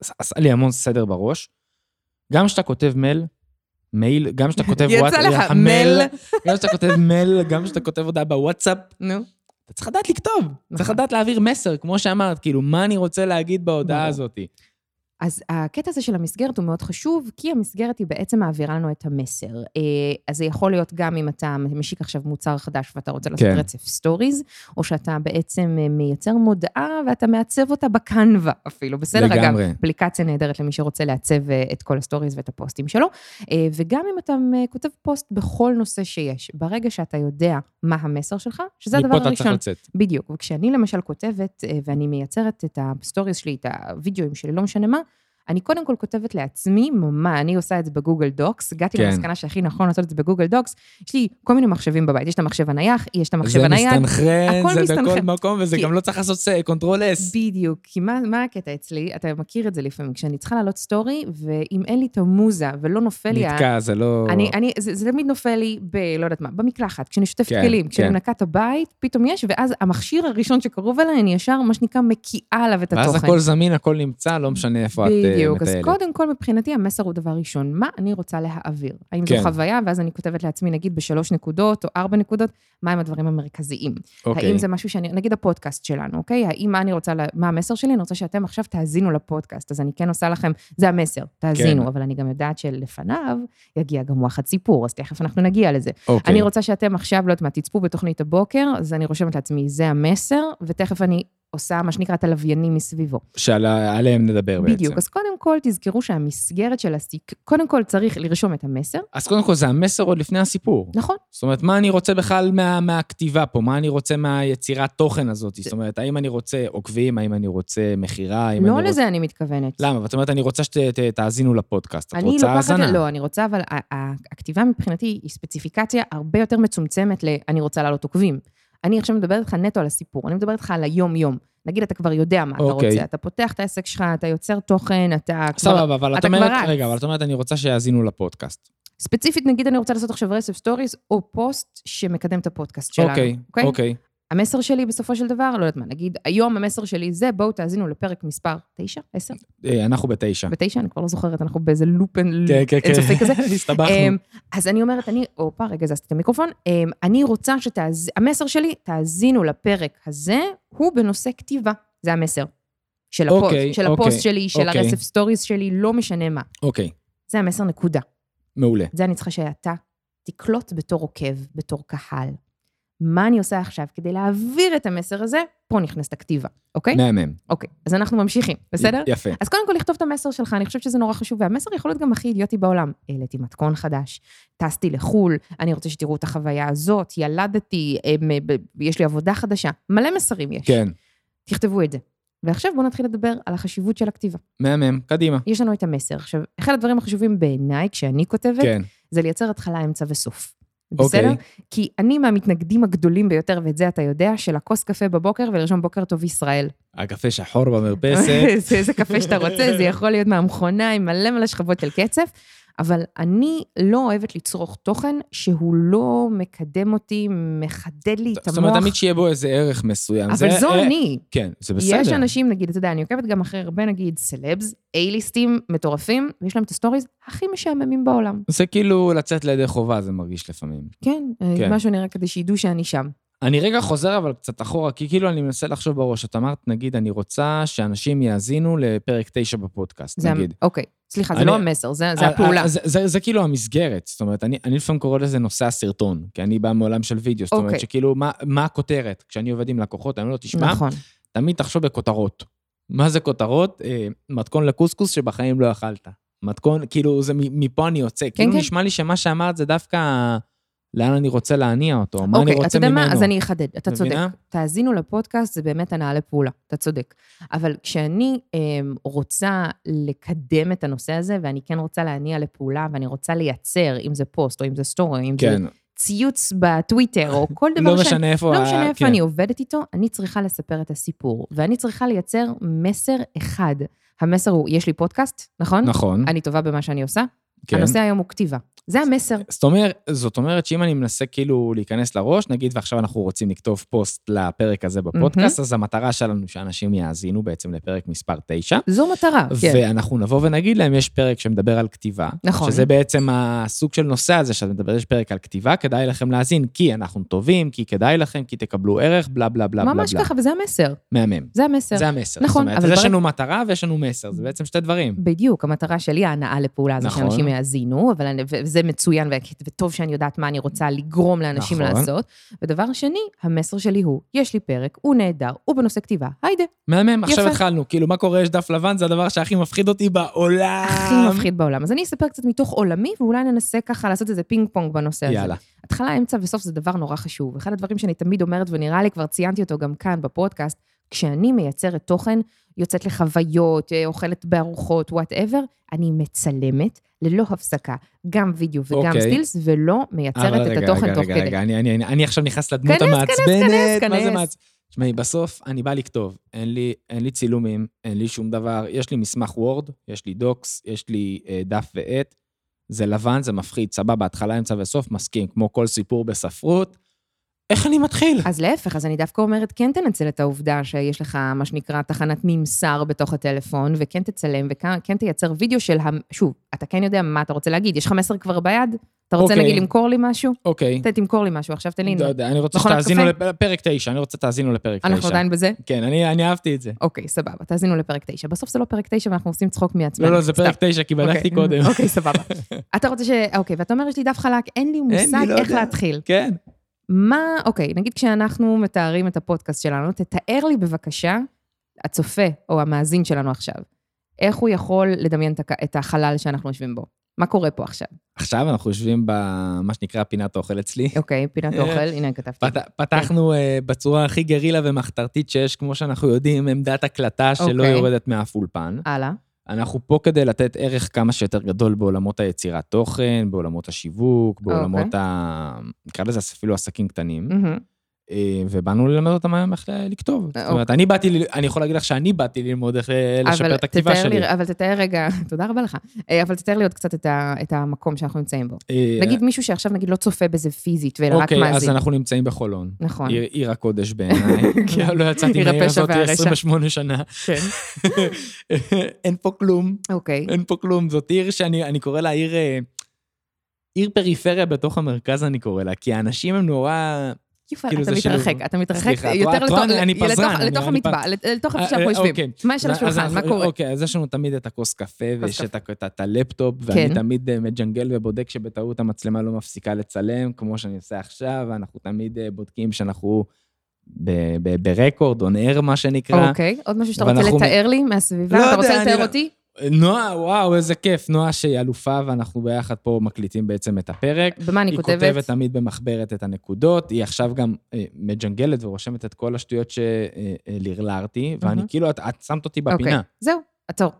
B: עשה- עשה לי המון סדר בראש. גם כשאתה כותב מייל, מייל, גם כשאתה כותב אה,
A: יצא לך מייל.
B: גם כשאתה כותב מייל, גם כשאתה כותב הודעה בוואטסאפ,
A: נו.
B: אתה צריך לדעת לכתוב, צריך
A: נכון.
B: לדעת להעביר מסר, כמו שאמרת, כאילו, מה אני רוצה להגיד בהודעה
A: ברור.
B: הזאת.
A: אז הקטע הזה של המסגרת הוא מאוד חשוב, כי המסגרת היא בעצם מעבירה לנו את המסר. אה, אז זה יכול להיות גם אם אתה משיק עכשיו מוצר חדש ואתה רוצה לעשות
B: כן.
A: רצף סטוריז, או שאתה בעצם אה, מייצר מודעה ואתה מעצב אותה בקנווה אפילו, בסדר? אגב,
B: לגמרי.
A: אפליקציה נהדרת למי שרוצה לעצב אה, את כל הסטוריז ואת הפוסטים שלו. אה, וגם אם אתה אה, כותב פוסט בכל נושא שיש, ברגע שאתה יודע מה המסר שלך, שזה הדבר
B: מפה אתה צריך
A: הראשון.
B: לצאת.
A: בדיוק. וכשאני למשל כותבת, אה, ואני מייצרת את הסטוריז שלי, את הוידאוים שלי, לא משנה מה, אני קודם כל כותבת לעצמי, מה, אני עושה את זה בגוגל דוקס, הגעתי
B: כן.
A: למסקנה שהכי נכון לעשות את זה בגוגל דוקס, יש לי כל מיני מחשבים בבית, יש את המחשב הנייח, יש את המחשב
B: זה
A: הנייד,
B: מסתנכרן,
A: הכל
B: זה בכל
A: מסתנכרן.
B: מקום, וזה
A: כי-
B: גם לא צריך לעשות קונטרול S.
A: בדיוק, כי מה, מה הקטע אצלי? אתה מכיר את זה לפעמים, כשאני צריכה לעלות סטורי, ואם אין לי את המוזה ולא נופל לי... ה-
B: נתקע, זה לא...
A: אני, אני, זה, זה תמיד נופל לי ב... לא יודעת מה, במקלחת, כשאני שוטפת
B: כן,
A: כן, כלים, כשאני
B: כן.
A: מנקה את הבית, פתאום יש, ואז המכשיר הראשון שקרוב אליי, אני ישר, מה שנקרא, מקיאה עליו את התוכן.
B: ואז הכל זמין, הכל נמצא, לא משנה איפה את אה, מטיילת.
A: בדיוק, אז קודם כל מבחינתי המסר הוא דבר ראשון, מה אני רוצה להעביר? האם
B: כן.
A: זו חוויה, ואז אני כותבת לעצמי, נגיד בשלוש נקודות או ארבע נקודות, מהם הדברים המרכזיים?
B: אוקיי.
A: האם זה משהו שאני, נגיד הפודקאסט שלנו, אוקיי? האם מה אני רוצה, לה- מה המסר שלי? אני רוצה שאתם עכשיו תאזינו לפודקאסט, אז אני כן עושה לכם, זה המסר, תאזינו,
B: כן.
A: אבל אני גם יודעת שלפניו יגיע גם וואחד סיפור, אז תכף אנחנו נגיע לזה.
B: אוקיי.
A: אני רוצה שאתם עכשיו, לא יודעת מה, תצפו בתוכנית הבוקר, אז אני רושמת לעצמי, זה המסר, ותכף אני עושה מה שנקרא את הלוויינים מסביבו.
B: שעליהם נדבר בעצם.
A: בדיוק, אז קודם כל תזכרו שהמסגרת של הסיק... קודם כל צריך לרשום את המסר,
B: אז קודם כל, זה המסר עוד לפני הסיפור.
A: נכון?
B: זאת אומרת, מה אני רוצה בכלל מה- מהכתיבה פה? מה אני רוצה מהיצירת תוכן הזאת? זאת אומרת, האם אני רוצה עוקבים? האם אני רוצה מכירה? האם
A: לא
B: אני
A: לזה אני מתכוונת.
B: רוצה... למה? ואת אומרת, אני רוצה שתאזינו לפודקאסט. את
A: אני
B: רוצה
A: לוקחת-
B: האזנה.
A: לא, אני רוצה, אבל ה- ה- הכתיבה מבחינתי היא ספציפיקציה הרבה יותר מצומצמת ל- אני רוצה לעלות עוקבים. אני עכשיו מדברת איתך נטו על הסיפור, אני מדברת איתך על היום-יום. נגיד, אתה כבר יודע מה אתה
B: אוקיי.
A: רוצה, אתה פותח את העסק שלך, אתה יוצר תוכן, אתה כבר...
B: סבבה, אבל את
A: אתה
B: אומרת,
A: כבר רץ.
B: רגע, אבל את אומרת, אני רוצה שיאזינו לפודקאסט.
A: ספציפית, נגיד, אני רוצה לעשות עכשיו רצף סטוריז, או פוסט שמקדם את הפודקאסט שלנו.
B: אוקיי, אוקיי.
A: המסר שלי בסופו של דבר, לא יודעת מה, נגיד, היום המסר שלי זה, בואו תאזינו לפרק מספר 9, 10,
B: אה, אנחנו בתשע.
A: ו-9, אני כבר לא זוכרת, אנחנו באיזה לופן
B: כן, כן, כן.
A: אינסופי כזה.
B: הסתבכנו.
A: אמ, אז אני אומרת, אני, הופה, רגע, הזזתי את המיקרופון, אמ, אני רוצה שתאז... המסר שלי, תאזינו לפרק הזה, הוא בנושא כתיבה, זה המסר. של הפוסט,
B: אוקיי,
A: של
B: אוקיי,
A: הפוסט שלי, של
B: אוקיי.
A: הרצף סטוריז שלי, לא משנה מה.
B: אוקיי,
A: זה המסר, נקודה.
B: מעולה.
A: את זה אני צריכה שאתה תקלוט בתור עוקב, בתור קהל. מה אני עושה עכשיו כדי להעביר את המסר הזה? פה נכנסת הכתיבה, אוקיי?
B: מהמם.
A: אוקיי, אז אנחנו ממשיכים, בסדר?
B: י- יפה.
A: אז קודם כל, לכתוב את המסר שלך, אני חושבת שזה נורא חשוב, והמסר יכול להיות גם הכי אידיוטי בעולם. העליתי מתכון חדש, טסתי לחו"ל, אני רוצה שתראו את החוויה הזאת, ילדתי, אמ, ב- יש לי עבודה חדשה, מלא מסרים יש.
B: כן,
A: תכתבו את זה. ועכשיו בואו נתחיל לדבר על החשיבות של הכתיבה.
B: מהמם, קדימה.
A: יש לנו את המסר. עכשיו, אחד הדברים החשובים בעיניי, כשאני כותבת,
B: כן,
A: זה לייצר התחלה, אמצע וסוף. בסדר?
B: אוקיי.
A: כי אני מהמתנגדים הגדולים ביותר, ואת זה אתה יודע, של הכוס קפה בבוקר ולרשום בוקר טוב ישראל.
B: הקפה שחור במרפסת.
A: זה איזה קפה שאתה רוצה, זה יכול להיות מהמכונה עם מלא מלא שכבות של קצף. אבל אני לא אוהבת לצרוך תוכן שהוא לא מקדם אותי, מחדד לי את
B: זאת אומרת,
A: המוח.
B: תמיד שיהיה בו איזה ערך מסוים. זה-
A: אבל זו
B: אה,
A: אני.
B: כן, זה בסדר.
A: יש אנשים, נגיד, אתה יודע, אני עוקבת גם אחרי הרבה, נגיד, סלבס, A-ליסטים מטורפים, ויש להם את הסטוריז הכי משעממים בעולם.
B: זה כאילו לצאת לידי חובה, זה מרגיש לפעמים.
A: כן,
B: כן.
A: כן. משהו נראה כדי שידעו שאני שם.
B: אני רגע חוזר אבל קצת אחורה, כי כאילו אני מנסה לחשוב בראש. את אמרת, נגיד, אני רוצה שאנשים יאזינו לפרק 9 בפודקאסט,
A: זה המ-
B: נגיד.
A: אוקיי, סליחה, זה
B: אני-
A: לא המסר, זה זה
B: אה,
A: הפעולה.
B: אה, זה- זה זה כאילו המסגרת. זאת אומרת, אני אני לפעמים קורא לזה נושא הסרטון, כי אני בא מעולם של וידאו. זאת אומרת,
A: אוקיי.
B: שכאילו, מה- מה הכותרת? כשאני עובד עם לקוחות, אני אומר לו, תשמע,
A: נכון.
B: תמיד תחשוב בכותרות. מה זה כותרות? אה, מתכון לקוסקוס שבחיים לא אכלת. מתכון, כאילו, זה מ- מפה אני יוצא. כאילו,
A: כן.
B: נשמע לי שמה שאמרת זה דווקא לאן אני רוצה להניע אותו, מה אני
A: אוקיי, אתה
B: רוצה
A: יודע
B: ממנו.
A: מה? אז אני אחדד, אתה צודק.
B: מבינה?
A: תאזינו לפודקאסט, זה באמת הנעה לפעולה, אתה צודק. אבל כשאני אה, רוצה לקדם את הנושא הזה, ואני כן רוצה להניע לפעולה, ואני רוצה לייצר, אם זה פוסט, או אם זה סטורי, או אם זה
B: כן,
A: ציוץ בטוויטר, או כל דבר
B: לא
A: שאני...
B: משנה איפה...
A: לא
B: ה-
A: משנה
B: כן.
A: איפה אני עובדת איתו, אני צריכה לספר את הסיפור, ואני צריכה לייצר מסר אחד. המסר הוא, יש לי פודקאסט, נכון?
B: נכון,
A: אני טובה במה שאני עושה.
B: כן.
A: הנושא היום הוא כתיבה. זה המסר.
B: זאת אומרת, זאת אומרת שאם אני מנסה כאילו להיכנס לראש, נגיד ועכשיו אנחנו רוצים לכתוב פוסט לפרק הזה בפודקאסט, אז המטרה שלנו שאנשים יאזינו בעצם לפרק מספר 9,
A: זו מטרה, כן.
B: ואנחנו נבוא ונגיד להם, יש פרק שמדבר על כתיבה.
A: נכון.
B: שזה בעצם הסוג של נושא הזה שאת מדברת, יש פרק על כתיבה, כדאי לכם להאזין, כי אנחנו טובים, כי כדאי לכם, כי תקבלו ערך, בלה בלה בלה בלה.
A: ממש
B: בלה.
A: ככה, וזה המסר.
B: מהמם.
A: זה המסר.
B: זה המסר.
A: נכון,
B: זאת אומרת,
A: אבל
B: אז יש
A: ברק-
B: לנו מטרה ויש לנו מסר, זה בעצם שתי דברים.
A: בדיוק, המטרה שלי, ההנאה לפעולה הזו,
B: נכון.
A: שאנשים יאזינו, אבל אני, וזה מצוין, ו- וטוב שאני יודעת מה אני רוצה לגרום לאנשים
B: נכון.
A: לעשות. ודבר שני, המסר שלי הוא, יש לי פרק, הוא נהדר, הוא בנושא כתיבה, היידה,
B: מהמם, עכשיו
A: יפה.
B: התחלנו. כאילו, מה קורה, יש דף לבן, זה הדבר שהכי מפחיד אותי בעולם.
A: הכי מפחיד בעולם. אז אני אספר קצת מתוך עולמי, ואולי ננסה ככה לעשות איזה פינג פונג בנושא הזה.
B: יאללה.
A: התחלה, אמצע וסוף זה דבר נורא חשוב. אחד הדברים שאני תמיד אומרת, ונראה לי כבר ציינתי אותו גם כאן בפודקאסט, כשאני מייצרת תוכן, יוצאת לחוויות, אה, אוכלת בארוחות, וואטאבר, אני מצלמת ללא הפסקה, גם וידאו וגם
B: אוקיי.
A: סטילס, ולא
B: אבל
A: מייצרת את
B: רגע,
A: התוכן
B: רגע,
A: תוך
B: רגע,
A: כדי.
B: רגע, אני- אני אני- אני עכשיו נכנס לדמות
A: כנס, כנס,
B: המעצבנת.
A: כנס,
B: מה זה
A: כנס.
B: מעצבן? תשמעי, בסוף אני בא לכתוב, אין לי, אין לי צילומים, אין לי שום דבר, יש לי מסמך וורד, יש לי דוקס, יש לי אה, דף ועט, זה לבן, זה מפחיד, סבבה, התחלה, אמצע וסוף, מסכים, כמו כל סיפור בספרות. איך אני מתחיל?
A: אז להפך, אז אני דווקא אומרת, כן תנצל את העובדה שיש לך, מה שנקרא, תחנת ממסר בתוך הטלפון, וכן תצלם, וכן כן תייצר וידאו של, המ- שוב, אתה כן יודע מה אתה רוצה להגיד, יש לך מסר כבר ביד? אתה רוצה,
B: אוקיי.
A: נגיד, למכור לי משהו?
B: אוקיי,
A: אתה תמכור לי משהו, עכשיו תן לי...
B: לא יודע, אני רוצה
A: מכונת
B: שתאזינו
A: קפה?
B: לפ- לפרק תשע, אני רוצה שתאזינו לפרק תשע.
A: אנחנו עדיין בזה?
B: כן, אני אני אהבתי את זה.
A: אוקיי, סבבה, תאזינו לפרק 9. בסוף זה לא פרק 9 ואנחנו עושים צחוק מעצמנו.
B: לא, לא, זה
A: סתם.
B: פרק תשע, כי בדקתי
A: אוקיי,
B: קודם.
A: אוקיי, סבבה. אתה רוצה ש... אוקיי, ואתה אומר, יש לי דף חלק, אין לי
B: לי,
A: מושג
B: לא
A: איך
B: יודע.
A: להתחיל.
B: כן.
A: מה, אוקיי, נגיד כשאנחנו מתארים את הפודקאסט שלנו, תתאר לי בבקשה, הצופה או המאזין שלנו עכשיו, איך הוא יכול לדמיין את הק- את החלל שאנחנו יושבים בו? מה קורה פה עכשיו?
B: עכשיו אנחנו יושבים במה שנקרא פינת האוכל אצלי.
A: אוקיי, פינת
B: אה,
A: אוכל, הנה כתבתי.
B: פת- פתחנו אה, בצורה הכי גרילה ומחתרתית שיש, כמו שאנחנו יודעים, עמדת הקלטה שלא
A: אוקיי.
B: יורדת מאף אולפן.
A: הלאה.
B: אנחנו פה כדי לתת ערך כמה שיותר גדול בעולמות היצירת תוכן, בעולמות השיווק, בעולמות
A: אוקיי.
B: ה... נקרא לזה אפילו עסקים קטנים,
A: מהמם.
B: אה, ובאנו ללמד אותם היום איך ל- לכתוב.
A: אה,
B: זאת אומרת, אני באתי, ל- אני יכול להגיד לך שאני באתי ללמוד איך ל- לשפר
A: אבל
B: את הכתיבה
A: תתאר לי-
B: שלי.
A: אבל תתאר רגע, תודה רבה לך, אה, אבל תתאר לי עוד קצת את ה- את המקום שאנחנו נמצאים בו.
B: אה,
A: נגיד מישהו שעכשיו נגיד לא צופה בזה פיזית, אלא רק
B: אוקיי, אז
A: מאזין.
B: אנחנו נמצאים בחולון.
A: נכון.
B: עיר, עיר הקודש בעיניי. לא- לא יצאתי
A: כן. עיר
B: מהעיר
A: הפשע
B: הזאת
A: והרשע.
B: 28 שנה.
A: כן.
B: אין פה כלום.
A: אוקיי.
B: אין פה כלום, זאת עיר שאני אני קורא לה עיר... אה, עיר פריפריה בתוך המרכז, אני קורא לה, כי האנשים הם נורא...
A: יובל,
B: כאילו
A: אתה
B: זה
A: מתרחק,
B: שילוב.
A: אתה מתרחק
B: סליחה, את רואה-
A: יותר
B: את רואה,
A: לתוך-
B: אני
A: לתוך-
B: פזרן, אני-
A: לתוך
B: אני
A: המטבע, לתוך
B: אה,
A: איפה
B: אה,
A: שאנחנו יושבים.
B: אוקיי.
A: מה יש על
B: אז
A: השולחן,
B: אנחנו-
A: מה קורה?
B: אוקיי, אז יש לנו תמיד את הכוס קפה, ויש את ה- את ה- את הלפטופ, ואני
A: כן.
B: תמיד אה, מג'נגל ובודק שבטעות המצלמה לא מפסיקה לצלם, כמו שאני עושה עכשיו, ואנחנו תמיד אה, בודקים שאנחנו ב- ב- ברקורד, און אייר, מה שנקרא.
A: אוקיי, עוד משהו שאתה
B: אבל
A: רוצה
B: אנחנו-
A: לתאר לי מהסביבה?
B: אה, לא
A: אתה
B: יודע,
A: רוצה
B: אני
A: לתאר
B: לא-
A: אותי?
B: נועה, וואו, איזה כיף. נועה שהיא אלופה, ואנחנו ביחד פה מקליטים בעצם את הפרק.
A: במה אני
B: היא
A: כותבת?
B: כותבת תמיד במחברת את הנקודות, היא עכשיו גם אה, מג'נגלת ורושמת את כל השטויות שלרלרתי, ואני
A: אהה.
B: כאילו, את, את שמת אותי
A: אוקיי,
B: בפינה.
A: זהו, עצור.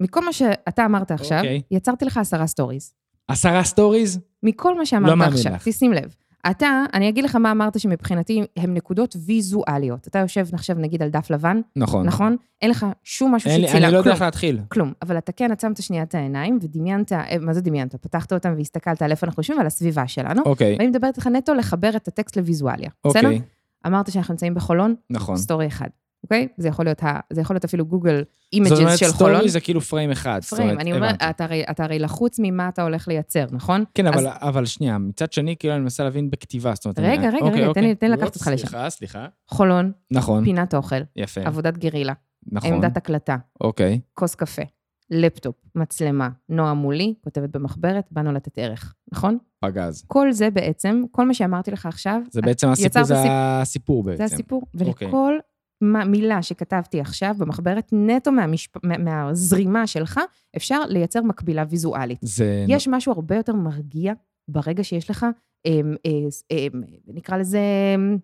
A: מכל מה שאתה אמרת עכשיו,
B: אוקיי.
A: יצרתי לך עשרה סטוריז.
B: עשרה סטוריז?
A: מכל מה
B: לא
A: שאמרת
B: מאמין
A: עכשיו,
B: לך.
A: תשים לב. אתה, אני אגיד לך מה אמרת שמבחינתי הן נקודות ויזואליות. אתה יושב עכשיו נגיד על דף לבן,
B: נכון.
A: נכון? אין לך שום משהו
B: אין לי-
A: שצילם,
B: אני לא יודע
A: כלום.
B: איך להתחיל.
A: כלום. אבל אתה כן עצמת שנייה את העיניים ודמיינת, אה, מה זה דמיינת? פתחת אותם והסתכלת על איפה אנחנו יושבים ועל הסביבה שלנו.
B: אוקיי,
A: ואני מדברת איתך נטו לחבר את הטקסט לוויזואליה. אה, בסדר?
B: אוקיי,
A: אמרת שאנחנו נמצאים בחולון,
B: נכון.
A: סטורי אחד, אוקיי? זה יכול להיות, ה- זה יכול להיות אפילו גוגל
B: זאת
A: אימג'ס
B: אומרת,
A: של חולון.
B: סטורי זה כאילו פריים אחד. זאת
A: פריים,
B: אומרת,
A: אני אומרת,
B: הבנתי.
A: אתה הרי- אתה הרי לחוץ ממה אתה הולך לייצר, נכון?
B: כן,
A: אז-
B: אבל, אבל שנייה, מצד שני, כאילו, אני מנסה להבין בכתיבה, זאת אומרת...
A: רגע,
B: אני-
A: רגע,
B: אוקיי,
A: רגע, תן
B: אוקיי.
A: לי- תן לי לקחת
B: אופס,
A: אותך לשם.
B: סליחה, סליחה.
A: חולון,
B: נכון,
A: פינת אוכל,
B: יפה,
A: עבודת גרילה,
B: נכון.
A: עמדת הקלטה,
B: אוקיי,
A: כוס קפה, לפטופ, מצלמה, נועה מולי, כותבת במחברת, באנו לתת ערך, נכון?
B: פגז.
A: כל זה בעצם, כל מה שאמרתי לך עכשיו,
B: זה בעצם הסיפור,
A: יצרת
B: זה
A: סיפ-
B: הסיפור בעצם.
A: אה, זה הסיפור.
B: אוקיי.
A: ולכל מה- מילה שכתבתי עכשיו במחברת, נטו מהמשפ... מה- מהזרימה שלך, אפשר לייצר מקבילה ויזואלית.
B: זה...
A: יש משהו הרבה יותר מרגיע ברגע שיש לך, אמ, אה, ס- אמ, נקרא לזה... אמ,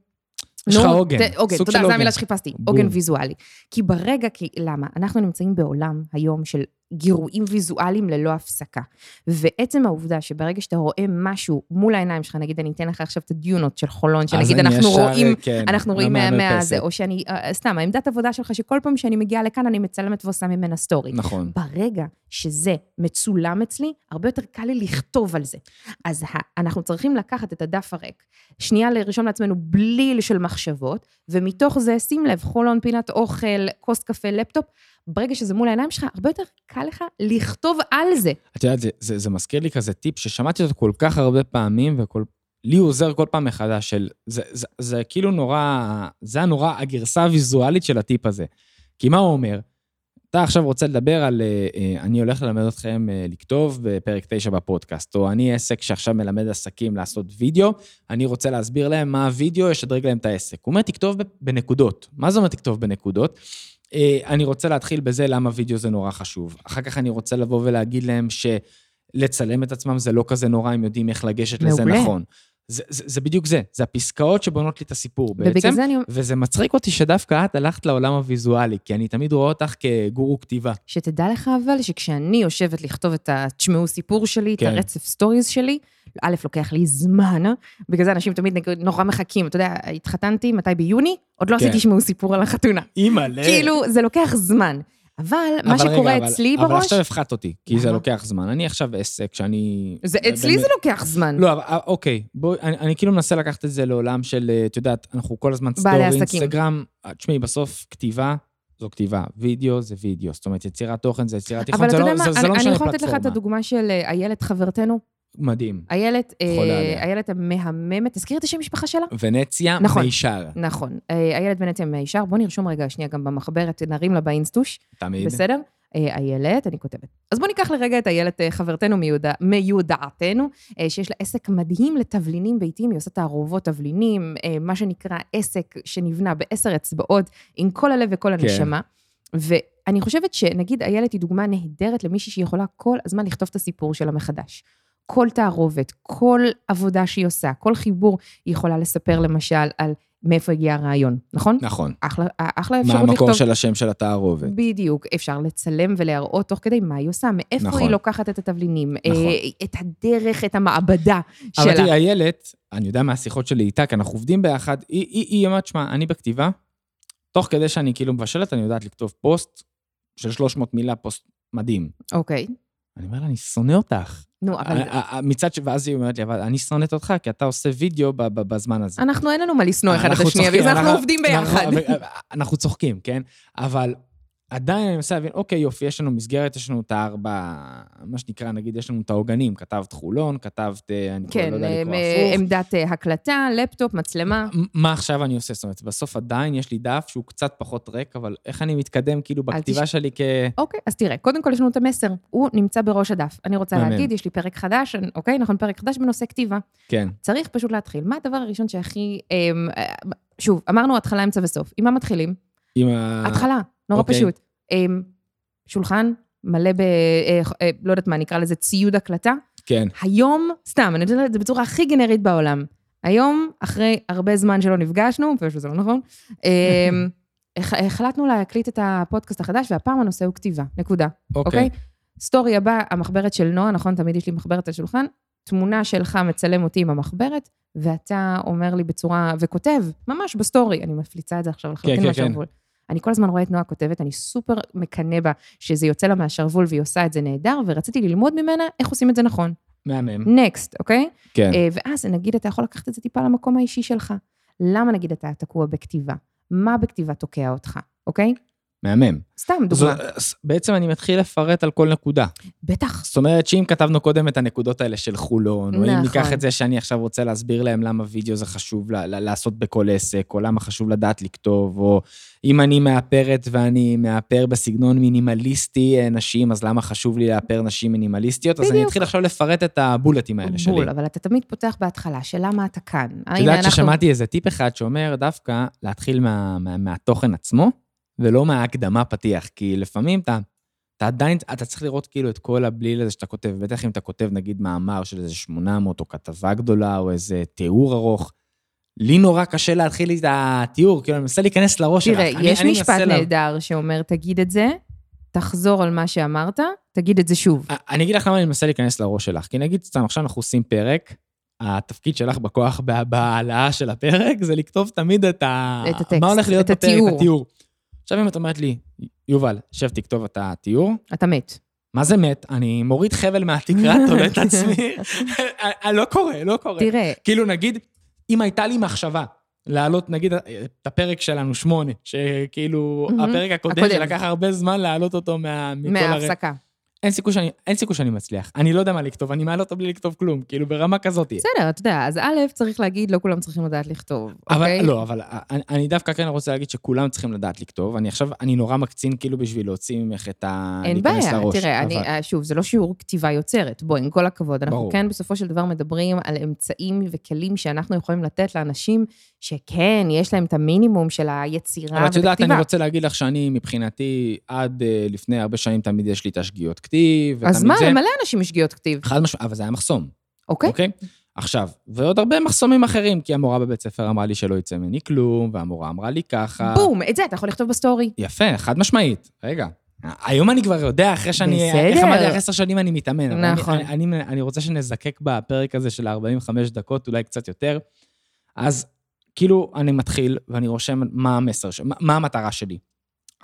B: יש לך
A: נו,
B: עוגן,
A: ת- עוגן,
B: סוג
A: תודה,
B: של
A: זו
B: עוגן.
A: המילה שחיפשתי,
B: בום.
A: עוגן ויזואלי. כי ברגע, כי למה? אנחנו נמצאים בעולם היום של גירויים ויזואליים ללא הפסקה. ועצם העובדה שברגע שאתה רואה משהו מול העיניים שלך, נגיד אני אתן לך עכשיו את הדיונות של חולון,
B: אז
A: שנגיד
B: אני
A: אנחנו
B: ישר,
A: רואים
B: כן,
A: אנחנו רואים מה-
B: מהמרפסת.
A: מהזה, או שאני, אה, סתם, העמדת עבודה שלך, שכל פעם שאני מגיעה לכאן, אני מצלמת ועושה ממנה סטורי.
B: נכון.
A: ברגע שזה מצולם אצלי, הרבה יותר קל לי לכתוב על זה. אז ה- אנחנו צריכים לקחת את הדף הריק, שנייה לרשום לעצמנו בליל של מחשבות, ומתוך זה, שים לב, חולון, פינת אוכל, כוס קפה, לפטופ, ברגע שזה מול העיניים שלך, הרבה יותר קל לך לכתוב על זה.
B: את יודעת, זה, זה, זה מזכיר לי כזה טיפ ששמעתי אותו כל כך הרבה פעמים, וכל... לי הוא עוזר כל פעם מחדש, של... זה, זה, זה כאילו נורא... זה הנורא הגרסה הוויזואלית של הטיפ הזה. כי מה הוא אומר? אתה עכשיו רוצה לדבר על... אה, אה, אני הולך ללמד אתכם אה, לכתוב בפרק 9 בפודקאסט, או אני עסק שעכשיו מלמד עסקים לעשות וידאו, אני רוצה להסביר להם מה הוידאו, ישדרג להם את העסק. הוא אומר, תכתוב ב- בנקודות. מה זה אומר תכתוב בנקודות? אה, אני רוצה להתחיל בזה למה וידאו זה נורא חשוב. אחר כך אני רוצה לבוא ולהגיד להם שלצלם את עצמם זה לא כזה נורא, הם יודעים איך לגשת לזה
A: מעולה.
B: נכון. זה, זה, זה בדיוק זה, זה הפסקאות שבונות לי את הסיפור בעצם.
A: ובגלל זה אני אומרת,
B: וזה מצחיק אותי שדווקא את הלכת לעולם הוויזואלי, כי אני תמיד רואה אותך כגורו כתיבה.
A: שתדע לך אבל, שכשאני יושבת לכתוב את ה... תשמעו סיפור שלי,
B: כן.
A: את הרצף סטוריז שלי, א', לוקח לי זמן, אה? בגלל זה אנשים תמיד נגיד, נורא מחכים. אתה יודע, התחתנתי, מתי? ביוני? עוד לא
B: כן.
A: עשיתי שמעו סיפור על החתונה.
B: אימא'לה.
A: כאילו, זה לוקח זמן. אבל מה
B: אה. אבל רגע,
A: שקורה
B: אבל-
A: אצלי
B: אבל
A: בראש,
B: עכשיו הפחדת אותי, כי זה
A: למה?
B: לוקח זמן. אני עכשיו עסק שאני...
A: זה אצלי
B: אה, באמת-
A: זה לוקח זמן.
B: לא, אבל אה, אוקיי, בואי, אני, אני כאילו מנסה לקחת את זה לעולם של, אה, את יודעת, אנחנו כל הזמן
A: בעלי
B: סטורי,
A: עסקים.
B: אינסטגרם. אה, תשמעי, בסוף כתיבה זו כתיבה, וידאו זה וידאו. זאת אומרת, יצירת תוכן זה יצירת תיכון,
A: אבל
B: זה
A: אתה
B: לא
A: יודע מה,
B: משנה פלטפורמה.
A: אני- אני יכולה לתת לך את הדוגמה של אה, איילת חברתנו.
B: מדהים.
A: איילת, אה,
B: חולה עליה.
A: איילת המהממת, תזכירי את השם משפחה שלה?
B: ונציה
A: נכון.
B: מישר,
A: נכון. אה, איילת בנציה מהישר, בוא נרשום רגע שנייה גם במחברת, נרים לה באינסטוש.
B: תמיד.
A: בסדר? אה, איילת, אני כותבת. אז בואו ניקח לרגע את איילת, אה, חברתנו מיודע- מיודעתנו, אה, שיש לה עסק מדהים לתבלינים ביתיים, היא עושה תערובות תבלינים, אה, מה שנקרא עסק שנבנה בעשר אצבעות, עם כל הלב וכל
B: כן.
A: הנשמה. ואני חושבת שנגיד איילת היא דוגמה נהדרת למישהי שהיא יכולה כל הזמן לכתוב את הסיפור שלה מחדש. כל תערובת, כל עבודה שהיא עושה, כל חיבור, היא יכולה לספר למשל על מאיפה הגיע הרעיון, נכון?
B: נכון.
A: אחלה, אחלה
B: מה
A: אפשרות לכתוב...
B: המקור של השם של התערובת?
A: בדיוק, אפשר לצלם ולהראות תוך כדי מה היא עושה, מאיפה
B: נכון.
A: היא לוקחת את התבלינים,
B: נכון.
A: אה, את הדרך, את המעבדה
B: אבל
A: שלה.
B: תראי, איילת, אני יודע מהשיחות שלי איתה, כי אנחנו עובדים ביחד, היא- היא היא אומרת, שמע, אני בכתיבה, תוך כדי שאני כאילו מבשלת, אני יודעת לכתוב פוסט של 300 מילה, פוסט מדהים.
A: אוקיי,
B: אני אומר לה, אני שונא אותך.
A: נו, אבל
B: ה- ה- ה- מצד ש... ואז היא אומרת לי, אבל אני שונאת אותך, כי אתה עושה וידאו ב- ב- בזמן הזה.
A: אנחנו אין לנו מה לשנוא אחד את
B: אנחנו
A: השנייה,
B: צוחקים,
A: בגלל זה אנחנו עובדים ביחד.
B: אבל- אה, אנחנו צוחקים, כן? אבל עדיין אני מנסה להבין, אוקיי, יופי, יש לנו מסגרת, יש לנו את הארבע, מה שנקרא, נגיד, יש לנו את העוגנים. כתבת חולון, כתבת, אה, אני כבר
A: כן,
B: לא יודע לקרוא
A: אה,
B: הפוך.
A: עמדת אה, הקלטה, לפטופ, מצלמה.
B: מ- מה עכשיו אני עושה? זאת אומרת, בסוף עדיין יש לי דף שהוא קצת פחות ריק, אבל איך אני מתקדם כאילו
A: אל
B: בכתיבה
A: תש-
B: שלי כ...
A: אוקיי, אז תראה, קודם כל יש לנו את המסר, הוא נמצא בראש הדף. אני רוצה
B: מהמם.
A: להגיד, יש לי פרק חדש, אוקיי, נכון, פרק חדש בנושא כתיבה.
B: כן,
A: צריך פשוט להתחיל. מה הדבר הראשון שהכי... אמ, אה, שוב, אמרנו התחלה, אמצע וסוף. עם מה מתחילים?
B: עם ה...
A: התחלה, נורא
B: אוקיי.
A: פשוט. אמ, שולחן מלא ב... אה, אה, לא יודעת מה, נקרא לזה ציוד הקלטה.
B: כן,
A: היום, סתם, אני נותנת את זה בצורה הכי גנרית בעולם. היום, אחרי הרבה זמן שלא נפגשנו, פשוט שזה לא נכון, אמ, הח- החלטנו להקליט את הפודקאסט החדש, והפעם הנושא הוא כתיבה, נקודה,
B: אוקיי.
A: אוקיי? סטורי הבא, המחברת של נועה, נכון? תמיד יש לי מחברת על השולחן. תמונה שלך מצלם אותי עם המחברת, ואתה אומר לי בצורה, וכותב, ממש בסטורי, אני מפליצה את זה עכשיו לחלוטין
B: כן, כן.
A: מהשרוול. אני כל הזמן רואה את נועה כותבת, אני סופר מקנא בה שזה יוצא לה מהשרוול והיא עושה את זה נהדר, ורציתי ללמוד ממנה איך עושים את זה נכון.
B: מהמם.
A: נקסט, אוקיי?
B: Mm. כן.
A: אה, ואז נגיד אתה יכול לקחת את זה טיפה למקום האישי שלך. למה נגיד אתה תקוע בכתיבה? מה בכתיבה תוקע אותך, אוקיי?
B: מהמם.
A: סתם
B: זו-
A: דוגמה.
B: אז אה, בעצם אני מתחיל לפרט על כל נקודה.
A: בטח.
B: זאת אומרת שאם כתבנו קודם את הנקודות האלה של חולון, או אם
A: נכון.
B: ניקח את זה שאני עכשיו רוצה להסביר להם למה וידאו זה חשוב ל- ל- לעשות בכל עסק, או למה חשוב לדעת לכתוב, או אם אני מאפרת ואני מאפר בסגנון מינימליסטי אה, נשים, אז למה חשוב לי לאפר נשים מינימליסטיות? אז אני
A: בדיוק.
B: אתחיל עכשיו לפרט את הבולטים האלה שלי.
A: בול, אבל אתה תמיד פותח בהתחלה, שלמה אתה כאן.
B: את
A: הנה,
B: יודעת
A: אנחנו-
B: ששמעתי איזה טיפ אחד שאומר דווקא להתחיל מה- מה- מהתוכן עצמו, ולא מההקדמה פתיח, כי לפעמים אתה... אתה עדיין, אתה צריך לראות כאילו את כל הבליל הזה שאתה כותב, בטח אם אתה כותב נגיד מאמר של איזה 800 או כתבה גדולה או איזה תיאור ארוך. לי נורא קשה להתחיל את התיאור, כאילו אני מנסה להיכנס לראש שלך.
A: תראה,
B: אני-
A: יש
B: אני
A: משפט
B: מנסה לה-
A: נהדר שאומר, תגיד את זה, תחזור על מה שאמרת, תגיד את זה שוב.
B: אני אגיד לך למה אני מנסה להיכנס לראש שלך. כי נגיד סתם, עכשיו אנחנו עושים פרק, התפקיד שלך בכוח בה- בהעלאה של הפרק זה לכתוב תמיד את ה...
A: את הטקסט,
B: מה הולך להיות
A: את
B: בפרק,
A: התיאור.
B: את התיאור. עכשיו אם את אומרת לי, יובל, שב תכתוב את התיאור,
A: אתה מת.
B: מה זה מת? אני מוריד חבל מהתקרה, תולה את עצמי. אה, אה, לא קורה, לא קורה.
A: תראה,
B: כאילו נגיד, אם הייתה לי מחשבה להעלות, נגיד, את הפרק שלנו, שמונה, שכאילו,
A: מהמם,
B: הפרק הקודם
A: הקודם.
B: שלקח הרבה זמן להעלות אותו מה... מכל הר-
A: מההפסקה.
B: אין סיכוי שאני, אין סיכוי שאני מצליח. אני לא יודע מה לכתוב, אני מעלה אותו בלי לכתוב כלום, כאילו ברמה כזאת.
A: בסדר, אתה יודע, אז א', צריך להגיד, לא כולם צריכים לדעת לכתוב,
B: אבל
A: אוקיי?
B: לא, אבל אני, אני דווקא כן רוצה להגיד שכולם צריכים לדעת לכתוב. אני עכשיו, אני נורא מקצין כאילו בשביל להוציא ממך את ה...
A: אין
B: להיכנס
A: בעיה,
B: לראש,
A: תראה,
B: אבל-
A: אני, אה, שוב, זה לא שיעור כתיבה יוצרת, בוא, עם כל הכבוד, אנחנו
B: ברור.
A: ברור. כן בסופו של דבר מדברים על אמצעים וכלים שאנחנו יכולים לתת לאנשים שכן, יש להם את המינימום של היצירה
B: אבל את יודעת,
A: וכתיבה.
B: אני רוצה להגיד לך שאני, מבחינתי, עד אה, לפני הרבה שנים תמיד יש לי את השגיאות כתיב,
A: אז
B: ותמיד
A: מה,
B: זה...
A: למלא אנשים יש שגיאות כתיב,
B: חד משמעית, אבל זה היה מחסום,
A: אוקיי?
B: אוקיי? עכשיו, ועוד הרבה מחסומים אחרים, כי המורה בבית ספר אמרה לי שלא יצא ממני כלום, והמורה אמרה לי ככה.
A: בום, את זה אתה יכול לכתוב בסטורי.
B: יפה, חד משמעית. רגע. היום אני כבר יודע, אחרי שאני...
A: בסדר.
B: איך אמרתי, אחרי עשר שנים אני מתאמן. אבל
A: נכון.
B: אני, אני, אני, אני רוצה שנזקק בפרק הזה של ה-45 דקות, אולי קצת יותר. אז כאילו, אני מתחיל ואני רושם מה המסר, ש- מה, מה המטרה שלי.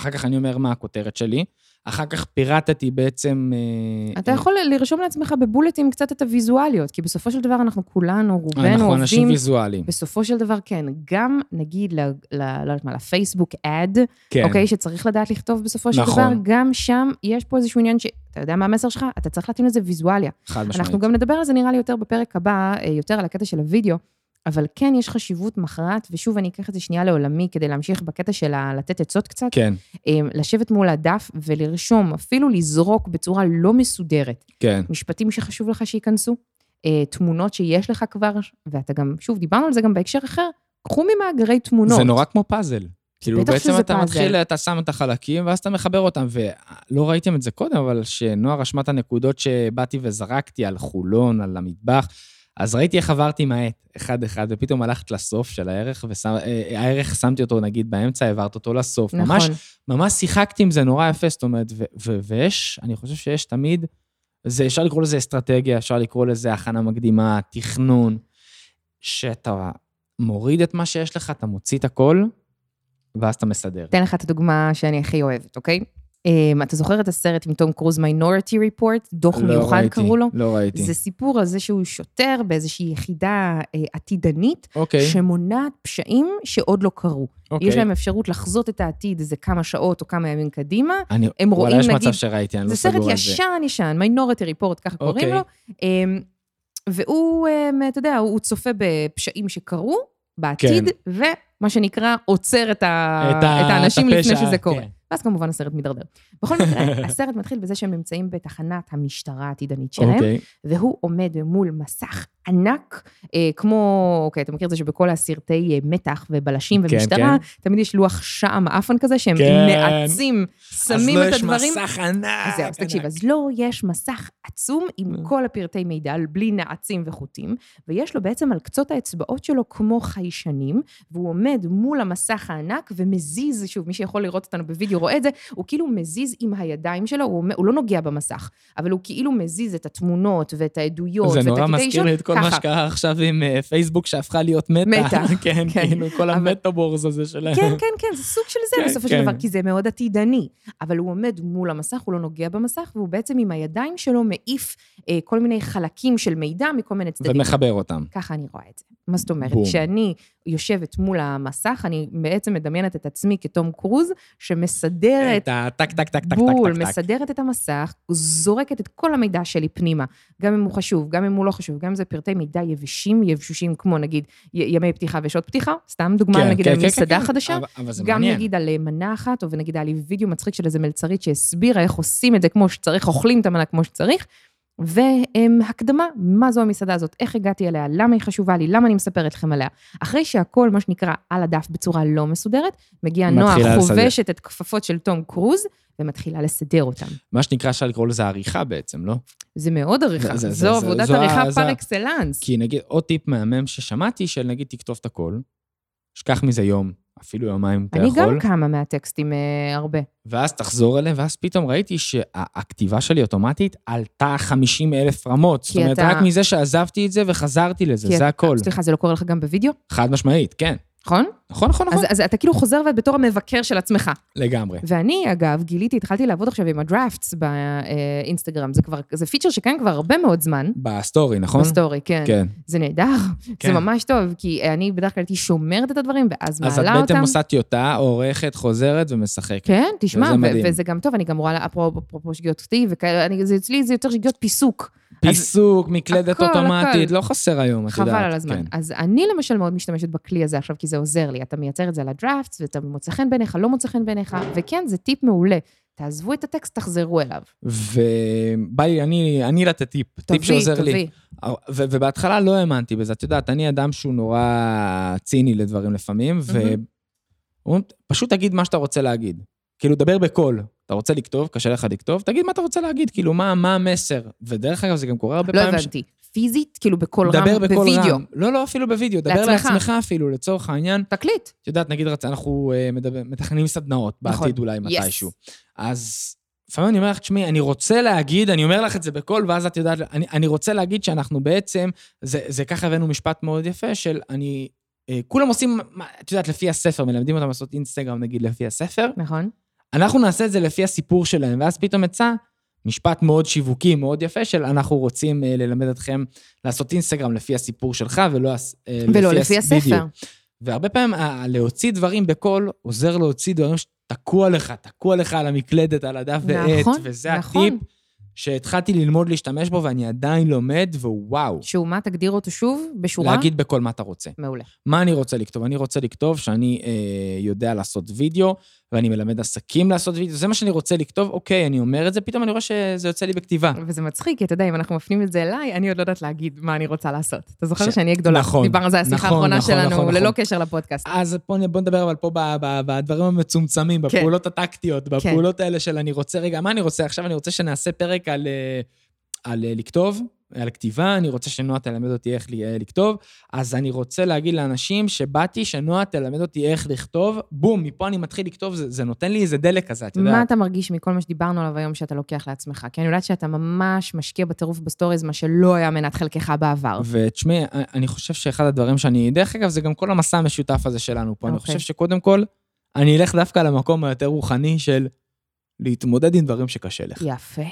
B: אחר כך אני אומר מה הכותרת שלי. אחר כך פירטתי בעצם... אה,
A: אתה
B: אה,
A: יכול לרשום לעצמך בבולטים קצת את הוויזואליות, כי בסופו של דבר אנחנו כולנו, רובנו,
B: אנחנו אה, נכון, אנשים
A: עובדים...
B: ויזואליים.
A: בסופו של דבר, כן, גם נגיד, ל, ל, לא יודעת מה, לפייסבוק אד,
B: כן.
A: אוקיי? שצריך לדעת לכתוב בסופו של
B: נכון.
A: דבר, גם שם יש פה איזשהו עניין ש... אתה יודע מה המסר שלך? אתה צריך להתאים לזה ויזואליה.
B: חד משמעית.
A: אנחנו גם נדבר על זה נראה לי יותר בפרק הבא, אה, יותר על הקטע של הוידאו, אבל כן יש חשיבות מכרעת, ושוב, אני אקח את זה שנייה לעולמי כדי להמשיך בקטע של ה- לתת עצות קצת,
B: כן,
A: אה, לשבת מול הדף ולרשום, אפילו לזרוק בצורה לא מסודרת.
B: כן.
A: משפטים שחשוב לך שייכנסו, אה, תמונות שיש לך כבר, ואתה גם, שוב, דיברנו על זה גם בהקשר אחר, קחו ממאגרי תמונות.
B: זה נורא כמו פאזל. כאילו
A: בטח
B: בעצם
A: שזה
B: אתה
A: פאזל.
B: מתחיל, אתה שם את החלקים ואז אתה מחבר אותם, ולא ראיתם את זה קודם, אבל כשנועה רשמה את הנקודות שבאתי וזרקתי על חולון, על המטבח, אז ראיתי איך עברתי מהעט, אחד-אחד, ופתאום הלכת לסוף של הערך, והערך שמתי אותו נגיד באמצע, העברת אותו לסוף.
A: נכון.
B: ממש, ממש שיחקתי עם זה נורא יפה, זאת אומרת, ו- ו- ויש, אני חושב שיש תמיד, זה, אפשר לקרוא לזה אסטרטגיה, אפשר לקרוא לזה הכנה מקדימה, תכנון, שאתה מוריד את מה שיש לך, אתה מוציא את הכל, ואז אתה מסדר.
A: אתן לך את הדוגמה שאני הכי אוהבת, אוקיי? אמ, אתה זוכר את הסרט עם תום קרוז, מיינורטי ריפורט? דוח מיוחד קראו לו?
B: לא ראיתי.
A: זה סיפור על זה שהוא שוטר באיזושהי יחידה אה, עתידנית,
B: אוקיי,
A: שמונעת פשעים שעוד לא קרו.
B: אוקיי.
A: יש להם אפשרות לחזות את העתיד איזה כמה שעות או כמה ימים קדימה,
B: אני,
A: הם רואים,
B: וואלה, יש
A: נגיד-
B: מצב שראיתי, אני לא
A: זה סרט
B: סגור על זה.
A: ישן ישן, מיינורטי ריפורט, ככה קוראים
B: אוקיי.
A: לו. אמ, והוא, אמ, אתה יודע, הוא צופה בפשעים שקרו בעתיד, ומה שנקרא, עוצר את ה-
B: כן. את ה-
A: את האנשים
B: את הפשע,
A: לפני שזה קורה.
B: כן.
A: ואז כמובן הסרט מידרדר. בכל מקרה, הסרט מתחיל בזה שהם נמצאים בתחנת המשטרה העתידנית שלהם,
B: אוקיי,
A: והוא עומד מול מסך ענק, אה, כמו, אוקיי, אתה מכיר את זה שבכל הסרטי אה, מתח ובלשים
B: כן,
A: ומשטרה, תמיד יש לוח שעם עפן כזה, שהם
B: כן.
A: נעצים, שמים את הדברים.
B: אז לא יש מסך ענק.
A: אז זהו, אז תקשיב,
B: ענק.
A: אז לו יש מסך עצום
B: אה.
A: עם כל הפרטי מידע, בלי נעצים וחוטים, ויש לו בעצם על קצות האצבעות שלו כמו חיישנים, והוא עומד מול המסך הענק ומזיז, שוב, מי שיכול לראות אותנו בווידאו, כי הוא רואה את זה, הוא כאילו מזיז עם הידיים שלו, הוא, אומר- הוא לא נוגע במסך, אבל הוא כאילו מזיז את התמונות ואת העדויות ואת
B: זה
A: הקטעי
B: נורא מזכיר
A: אישון,
B: לי את כל מה
A: ככה.
B: שקרה עכשיו עם אה, פייסבוק שהפכה להיות מטא.
A: מטא,
B: כן,
A: כן.
B: כאילו, כל
A: אבל-
B: המטאבורס הזה שלהם.
A: כן, כן, כן, זה סוג של זה
B: כן,
A: בסופו
B: כן.
A: של דבר, כי זה מאוד עתידני. אבל הוא עומד מול המסך, הוא לא נוגע במסך, והוא בעצם עם הידיים שלו מעיף אה, כל מיני חלקים של מידע מכל מיני צדדים.
B: ומחבר אותם.
A: ככה אני רואה את זה. מה זאת אומרת?
B: בום.
A: כשאני יושבת מול המסך, אני בעצם מדמיינת את עצמי כתום קרוז, שמסדרת
B: את הטק, טק, טק, טק, טק,
A: כן. בול,
B: טק, טק.
A: מסדרת את המסך, זורקת את כל המידע שלי פנימה, גם אם הוא חשוב, גם אם הוא לא חשוב, גם אם זה פרטי מידע יבשים, יבשושים, כמו נגיד י- ימי פתיחה ושעות פתיחה, סתם דוגמה,
B: כן,
A: נגיד
B: כן,
A: על
B: כן,
A: מסעדה
B: כן,
A: חדשה.
B: אבל- אבל זה
A: גם
B: מעניין.
A: נגיד על אה, מנה אחת, או נגיד היה לי וידאו מצחיק של איזה מלצרית שהסבירה איך עושים את זה כמו שצריך, אוכלים את המנה כמו שצריך, והקדמה, מה זו המסעדה הזאת, איך הגעתי אליה, למה היא חשובה לי, למה אני מספרת לכם עליה. אחרי שהכל, מה שנקרא, על הדף בצורה לא מסודרת, מגיע נועה,
B: מתחילה לסדר.
A: חובשת את כפפות של תום קרוז, ומתחילה לסדר אותם.
B: מה שנקרא, אפשר לקרוא לזה עריכה בעצם, לא?
A: זה מאוד עריכה,
B: זה- זה-
A: זו
B: זה-
A: עבודת
B: זו ה-
A: עריכה
B: זה ה-
A: פר אקסלנס.
B: כי נגיד, עוד טיפ מהמם ששמעתי, של נגיד, תכתוב את הכל, שכח מזה יום, אפילו יומיים, אתה
A: אני
B: יכול,
A: גם כמה מהטקסטים אה, הרבה.
B: ואז תחזור אליהם, ואז פתאום ראיתי שהכתיבה שלי אוטומטית עלתה 50 אלף רמות. זאת אומרת,
A: אתה-
B: רק מזה שעזבתי את זה וחזרתי לזה,
A: כי
B: זה
A: אתה-
B: הכל.
A: סליחה, זה לא קורה לך גם בווידאו,
B: חד משמעית, כן.
A: נכון?
B: נכון, נכון, נכון.
A: אז, אז אתה כאילו חוזר ואת בתור המבקר של עצמך.
B: לגמרי.
A: ואני, אגב, גיליתי, התחלתי לעבוד עכשיו עם הדראפטס באינסטגרם. זה כבר, זה פיצ'ר שקיים כבר הרבה מאוד זמן.
B: בסטורי, נכון?
A: בסטורי, כן.
B: כן.
A: זה נהדר,
B: כן.
A: זה ממש טוב, כי אה, אני בדרך כלל הייתי שומרת את הדברים, ואז מעלה
B: אז את
A: אותם.
B: בעצם עושה טיוטה, עורכת, חוזרת ומשחקת.
A: כן, תשמע,
B: וזה
A: ו-
B: מדהים.
A: וזה גם טוב, אני גם רואה, אפרופו אפרופו שגיאות כתיב, וכאלה, אני- זה אצלי זה יותר שגיאות פיסוק.
B: פיסוק, מקלדת
A: הכל,
B: אוטומטית,
A: הכל.
B: לא חסר היום, את יודעת.
A: חבל על הזמן.
B: כן.
A: אז אני למשל מאוד משתמשת בכלי הזה עכשיו, כי זה עוזר לי. אתה מייצר את זה על הדראפטס, ואתה מוצא חן בעיניך, לא מוצא חן בעיניך, וכן, זה טיפ מעולה. תעזבו את הטקסט, תחזרו אליו.
B: ובא לי, אני, אני לתת טיפ, טיפ שעוזר לי.
A: תביא.
B: ו- ובהתחלה לא האמנתי בזה. את יודעת, אני אדם שהוא נורא ציני לדברים לפעמים, ואומרים, פשוט תגיד מה שאתה רוצה להגיד. כאילו, דבר בקול. אתה רוצה לכתוב, קשה לך לכתוב, תגיד מה אתה רוצה להגיד, כאילו, מה, מה המסר. ודרך אגב, זה גם קורה הרבה
A: לא
B: פעמים... ש-
A: הבנתי. פיזית, כאילו בקול רם,
B: דבר בקול
A: בווידאו.
B: רם. לא, לא, אפילו בווידאו. דבר
A: לעצמך.
B: לעצמך אפילו, לצורך העניין.
A: תקליט.
B: את יודעת, נגיד, רצ- אנחנו אה, מדבר- מתכננים סדנאות
A: נכון.
B: בעתיד אולי
A: Yes.
B: מתישהו. אז לפעמים אני אומר לך, תשמעי, אני רוצה להגיד, אני אומר לך את זה בקול, ואז את יודעת, אני, אני רוצה להגיד שאנחנו בעצם, זה, זה ככה הבאנו משפט מאוד יפה של אני, אה, כולם עושים, מה- את יודעת, לפי הספר, מלמדים אותם לעשות אינסטגרם, נגיד, לפי הספר,
A: נכון.
B: אנחנו נעשה את זה לפי הסיפור שלהם, ואז פתאום יצא משפט מאוד שיווקי, מאוד יפה, של אנחנו רוצים אה, ללמד אתכם לעשות אינסטגרם לפי הסיפור שלך, ולא, הס- אה,
A: ולא
B: הס-
A: לפי
B: בדיוק.
A: הספר.
B: והרבה פעמים ה- להוציא דברים בקול עוזר להוציא דברים שתקוע לך, תקוע לך על המקלדת, על הדף ועט,
A: נכון,
B: וזה
A: נכון.
B: הטיפ שהתחלתי ללמוד להשתמש בו ואני עדיין לומד, ווואו.
A: שהוא מה, תגדיר אותו שוב, בשורה?
B: להגיד בקול מה אתה רוצה.
A: מעולה.
B: מה אני רוצה לכתוב? אני רוצה לכתוב שאני אה, יודע לעשות וידאו, ואני מלמד עסקים לעשות וידאו, זה מה שאני רוצה לכתוב, אוקיי, אני אומר את זה, פתאום אני רואה שזה יוצא לי בכתיבה.
A: וזה מצחיק, כי אתה יודע, אם אנחנו מפנים את זה אליי, אני עוד לא יודעת להגיד מה אני רוצה לעשות. אתה זוכר
B: ש-
A: שאני אהיה גדולה?
B: נכון,
A: דיברנו על זה, השיחה
B: נכון,
A: האחרונה
B: נכון, נכון,
A: שלנו, ללא
B: נכון.
A: קשר לפודקאסט.
B: אז בוא, נ- בוא נדבר אבל פה ב- ב- בדברים המצומצמים,
A: כן.
B: בפעולות הטקטיות, בפעולות האלה של אני רוצה, רגע, מה אני רוצה עכשיו? אני רוצה שנעשה פרק על, אה, על אה, לכתוב, על כתיבה, אני רוצה שנועה תלמד אותי איך ל- אה, לכתוב, אז אני רוצה להגיד לאנשים שבאתי, שנועה תלמד אותי איך לכתוב, בום, מפה אני מתחיל לכתוב, זה, זה נותן לי איזה דלק כזה, את
A: מה
B: יודעת.
A: אתה מרגיש מכל מה שדיברנו עליו היום שאתה לוקח לעצמך? כי אני יודעת שאתה ממש משקיע בטירוף בסטוריז, מה שלא היה מנת חלקך בעבר.
B: ותשמעי, אה, אני חושב שאחד הדברים שאני, דרך אגב, זה גם כל המסע המשותף הזה שלנו פה. אני
A: אוקיי.
B: חושב שקודם כל, אני אלך דווקא למקום היותר רוחני של להתמודד עם דברים שקשה לך.
A: יפה.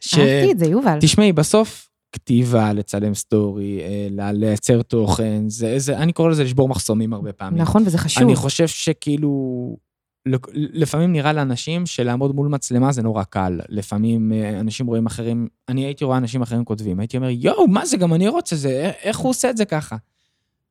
B: ש-
A: אהבתי את זה, יובל.
B: תשמעי, בסוף, כתיבה, לצלם סטורי, אה, ל- לייצר תוכן, זה, זה, אני קורא לזה לשבור מחסומים הרבה פעמים.
A: נכון, וזה חשוב.
B: אני חושב שכאילו, לק- לפעמים נראה לאנשים שלעמוד מול מצלמה זה נורא קל. לפעמים אה, אנשים רואים אחרים, אני הייתי רואה אנשים אחרים כותבים, הייתי אומר, יואו, מה זה, גם אני רוצה זה, א- איך הוא עושה את זה ככה?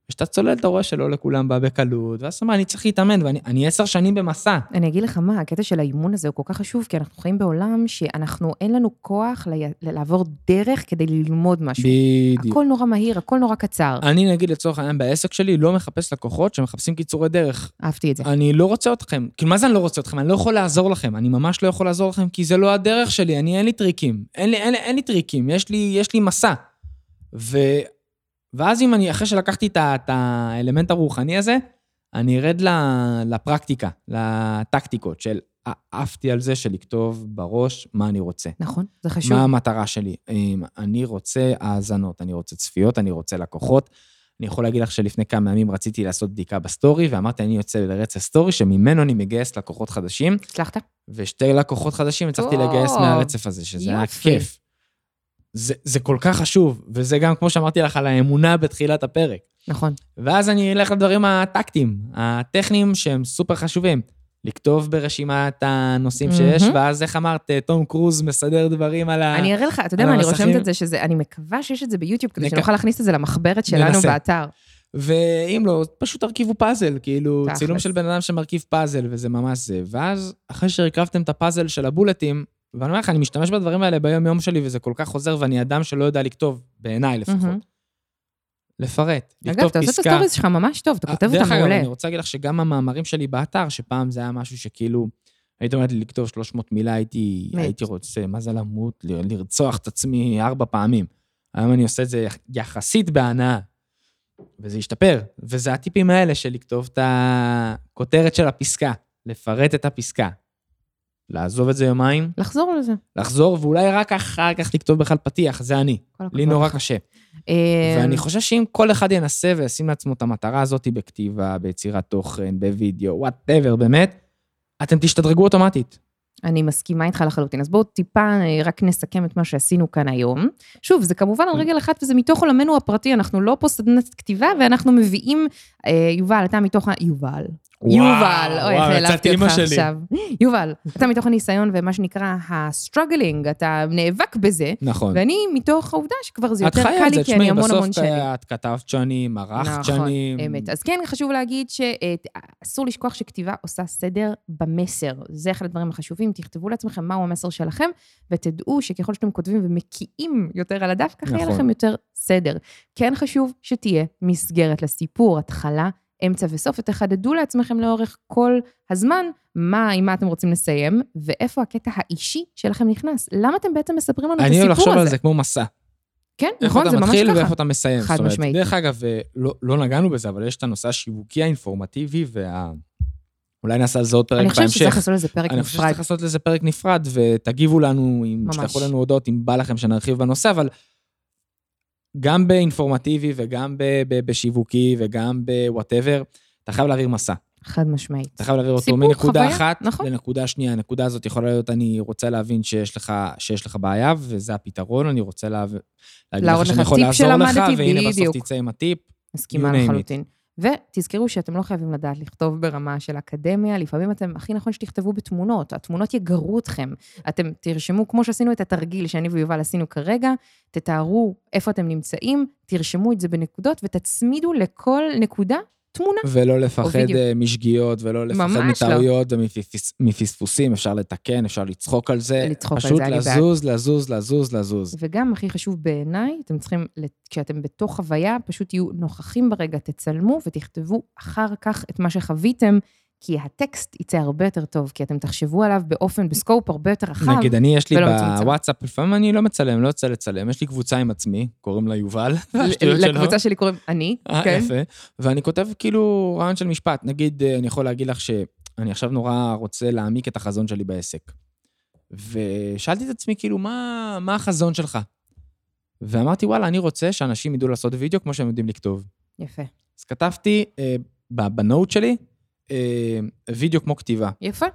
B: כשאתה צולל, אתה רואה שלא לכולם בא בקלות, ואז אתה אומר, אני צריך להתאמן, ואני אני עשר שנים במסע.
A: אני אגיד לך מה, הקטע של האימון הזה הוא כל כך חשוב, כי אנחנו חיים בעולם שאנחנו, אין לנו כוח ל... לעבור דרך כדי ללמוד משהו.
B: בדיוק. אה,
A: הכל נורא מהיר, הכל נורא קצר.
B: אני, נגיד, לצורך העניין, בעסק שלי, לא מחפש לקוחות שמחפשים קיצורי דרך.
A: אהבתי את זה.
B: אני לא רוצה אתכם. כאילו, מה זה אני לא רוצה אתכם? אני לא יכול לעזור לכם. אני ממש לא יכול לעזור לכם, כי זה לא הדרך שלי, אני, אין לי טריקים. אין לי, אין לי, אין לי טריקים, יש לי, יש לי מסע. ו... ואז אם אני, אחרי שלקחתי את ה- את האלמנט הרוחני הזה, אני ארד ל- לפרקטיקה, לטקטיקות של עפתי על זה של לכתוב בראש מה אני רוצה.
A: נכון, זה חשוב.
B: מה המטרה שלי? אמ, אני רוצה האזנות, אני רוצה צפיות, אני רוצה לקוחות. אני יכול להגיד לך שלפני כמה ימים רציתי לעשות בדיקה בסטורי, ואמרתי, אני יוצא לרצף סטורי, שממנו אני מגייס לקוחות חדשים,
A: הצלחת?
B: ושתי לקוחות חדשים הצלחתי
A: וואו.
B: לגייס מהרצף הזה, שזה היה
A: יופי.
B: כיף. זה, זה כל כך חשוב, וזה גם, כמו שאמרתי לך, על האמונה בתחילת הפרק.
A: נכון.
B: ואז אני אלך לדברים הטקטיים, הטכניים, שהם סופר חשובים. לכתוב ברשימת הנושאים שיש,
A: מהמם.
B: ואז איך אמרת, אה, תום קרוז מסדר דברים על ה...
A: אני אראה לך, אתה יודע
B: אה, על
A: מה, אני
B: המסכים.
A: רושמת את זה, שזה, אני מקווה שיש את זה ביוטיוב, כדי
B: נק-
A: שנוכל להכניס את זה למחברת שלנו
B: ננסה.
A: באתר.
B: ואם לא, פשוט תרכיבו פאזל, כאילו,
A: תכלס.
B: צילום של בן אדם שמרכיב פאזל, וזה ממש זה. ואז, אחרי שהרכבתם את הפאזל של הבולטים, ואני אומר לך, אני משתמש בדברים האלה ביום-יום שלי, וזה כל כך חוזר, ואני אדם שלא יודע לכתוב, בעיניי
A: מהמם.
B: לפחות. לפרט, לכתוב פסקה. אה,
A: אגב, אתה עושה את הסטוריז שלך ממש טוב, אתה כותב אותם
B: דרך אגב,
A: מעולה.
B: אני רוצה להגיד לך שגם המאמרים שלי באתר, שפעם זה היה משהו שכאילו, היית אומרת לי לכתוב 300 מילה, הייתי,
A: מת.
B: הייתי רוצה, מה זה למות? ל- לרצוח את עצמי ארבע פעמים. היום אני עושה את זה יח- יחסית בהנאה, וזה השתפר. וזה הטיפים האלה של לכתוב את הכותרת של הפסקה, לפרט את הפסקה. לעזוב את זה יומיים,
A: לחזור לזה.
B: לחזור, ואולי רק אחר כך לכתוב בכלל פתיח, זה אני.
A: כל הכבוד
B: לי נורא
A: לך.
B: קשה.
A: אה,
B: ואני חושב שאם כל אחד ינסה וישים לעצמו את המטרה הזאת בכתיבה, ביצירת תוכן, בווידאו, וואטאבר, באמת, אתם תשתדרגו אוטומטית.
A: אני מסכימה איתך לחלוטין. אז בואו טיפה אה, רק נסכם את מה שעשינו כאן היום. שוב, זה כמובן
B: כן.
A: על רגל אחת וזה מתוך עולמנו הפרטי, אנחנו לא פה סדנת כתיבה ואנחנו מביאים, אה, יובל, אתה מתוך ה... יובל. יובל, אוי, איך העלבתי אותך עכשיו. יובל, אתה מתוך הניסיון ומה שנקרא ה-struggling, אתה נאבק בזה,
B: נכון.
A: ואני מתוך העובדה שכבר זה
B: את
A: יותר
B: חיה
A: קל
B: את זה,
A: לי, כי אני
B: תשמעי,
A: המון
B: בסוף
A: המון
B: אתה-
A: שנים.
B: את כתבת שנים, ערכת
A: נכון,
B: שנים.
A: אמת. אז כן, חשוב להגיד שאסור לשכוח שכתיבה עושה סדר במסר. זה אחד הדברים החשובים. תכתבו לעצמכם מהו המסר שלכם, ותדעו שככל שאתם כותבים ומקיאים יותר על הדף, ככה יהיה
B: נכון.
A: לכם יותר סדר. כן חשוב שתהיה מסגרת לסיפור, התחלה, אמצע וסוף, ותחדדו לעצמכם לאורך כל הזמן מה, עם מה אתם רוצים לסיים, ואיפה הקטע האישי שלכם נכנס. למה אתם בעצם מספרים לנו את
B: אני אוהב
A: הסיפור
B: לחשוב על
A: הזה?
B: זה כמו מסע.
A: כן,
B: איפה
A: נכון,
B: אתה
A: זה ממש
B: מתחיל
A: ככה.
B: ואיפה אתה מסיים.
A: חד
B: זאת אומרת,
A: משמעית.
B: דרך אגב, אה, לא- לא נגענו בזה, אבל יש את הנושא השיווקי האינפורמטיבי, וה... אולי נעשה על זה עוד פרק
A: אני
B: בהמשך.
A: חושבת שצריך לעשות לזה פרק
B: אני חושב
A: נפרד.
B: שצריך לעשות לזה פרק נפרד, ותגיבו לנו, אם
A: ממש.
B: תשלחו לנו הודעות, אם בא לכם שנרחיב בנושא, אבל גם באינפורמטיבי וגם ב- ב- בשיווקי וגם בוואטאבר, אתה חייב להעביר מסע.
A: חד משמעית.
B: אתה חייב להעביר אותו
A: סיפור,
B: מנקודה
A: חוויה,
B: אחת
A: נכון.
B: לנקודה שנייה. הנקודה הזאת יכולה להיות, אני רוצה להבין שיש לך, שיש לך בעיה, וזה הפתרון, אני רוצה להב- להגיד
A: להראות
B: לך שאני
A: לך
B: יכול
A: טיפ
B: לעזור לך,
A: שלמדתי,
B: והנה בסוף
A: בדיוק.
B: תצא עם הטיפ. You
A: מסכימה
B: name it.
A: לחלוטין. ותזכרו שאתם לא חייבים לדעת לכתוב ברמה של אקדמיה, לפעמים אתם, הכי נכון שתכתבו בתמונות, התמונות יגרו אתכם. אתם תרשמו, כמו שעשינו את התרגיל שאני ויובל עשינו כרגע, תתארו איפה אתם נמצאים, תרשמו את זה בנקודות ותצמידו לכל נקודה תמונה.
B: ולא לפחד
A: וידאו.
B: אה, משגיאות, ולא
A: ממש
B: לפחד
A: לא.
B: מטעויות ומפספוסים, אפשר לתקן, אפשר לצחוק על זה.
A: לצחוק על זה, אני
B: אה, פשוט
A: בעד.
B: לזוז, לזוז, לזוז, לזוז.
A: וגם, הכי חשוב בעיניי, אתם צריכים, לת- כשאתם בתוך חוויה, פשוט תהיו נוכחים ברגע, תצלמו ותכתבו אחר כך את מה שחוויתם, כי הטקסט יצא הרבה יותר טוב, כי אתם תחשבו עליו באופן, בסקופ הרבה יותר רחב.
B: נגיד, אני, יש לי
A: נכון, ולא מצומצם.
B: בוואטסאפ, לפעמים אני לא מצלם, לא רוצה לצלם, יש לי קבוצה עם עצמי, קוראים לה יובל, והשטויות שלו.
A: לקבוצה שלי קוראים אני,
B: אה,
A: כן?
B: יפה. ואני כותב כאילו רעיון של משפט. נגיד, אה, אני יכול להגיד לך שאני עכשיו נורא רוצה להעמיק את החזון שלי בעסק. ושאלתי את עצמי, כאילו, מה, מה החזון שלך? ואמרתי, וואלה, אני רוצה שאנשים ידעו לעשות וידאו כמו שהם יודעים לכתוב.
A: יפה.
B: אז כתבתי אה, ב- בנוט שלי, אה, וידאו כמו כתיבה.
A: יפה.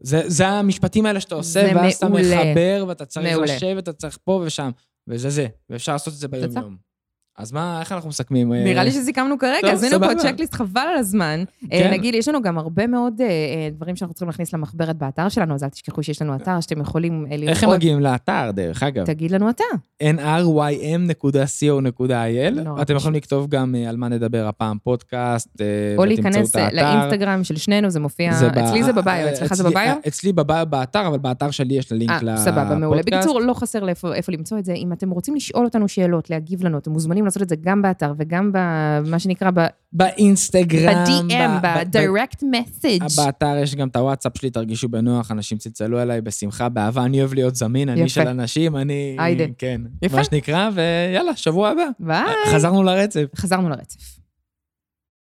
B: זה, זה המשפטים האלה שאתה עושה,
A: זה
B: ואז אתה
A: מעולה.
B: מחבר, ואתה צריך
A: מעולה.
B: לשבת, אתה צריך פה ושם, וזה זה, ואפשר לעשות את זה ביום-יום. אז מה, איך אנחנו מסכמים? אה,
A: נראה לי שסיכמנו כרגע,
B: טוב,
A: אז עשינו פה
B: סבבה.
A: צ'קליסט חבל על הזמן. אה,
B: כן.
A: נגיד, יש לנו גם הרבה מאוד אה, אה, דברים שאנחנו צריכים להכניס למחברת באתר שלנו, אז אל תשכחו שיש לנו אתר שאתם יכולים אה, לראות.
B: איך הם מגיעים לאתר, דרך אגב?
A: תגיד לנו אתה.
B: nrym.co.il,
A: נורא
B: אתם יכולים
A: פשוט.
B: לכתוב גם אה, על מה נדבר הפעם, פודקאסט, אה,
A: או
B: ותמצאו
A: להיכנס
B: את
A: אה,
B: האתר.
A: לאינסטגרם של שנינו, זה מופיע,
B: ב-
A: אצלי זה בביו,
B: אה,
A: אצלך זה
B: אצלי-
A: בביו?
B: אה, אצלי בביו באתר, אבל באתר שלי יש לינק
A: אה,
B: לפודקאסט.
A: סבבה, מעולה. בקיצור, לא חסר לאיפה איפה למצוא את זה. אם אתם רוצים לשאול אותנו שאלות, להגיב לנו, אתם מוזמנים לעשות את זה גם באתר וגם במה שנקרא ב-
B: באינסטגרם.
A: ב-DM,
B: ב- ב- ב-
A: ב-direct message.
B: אה, באתר יש גם את הוואטסאפ שלי, תרגישו בנוח, אנשים צלצלו אליי בשמחה, באהבה, אני אוהב להיות זמין, אני
A: יפה.
B: של אנשים, אני...
A: היידה.
B: כן.
A: יפה. אה.
B: מה שנקרא, ויאללה, שבוע הבא.
A: ביי.
B: חזרנו לרצף.
A: חזרנו לרצף.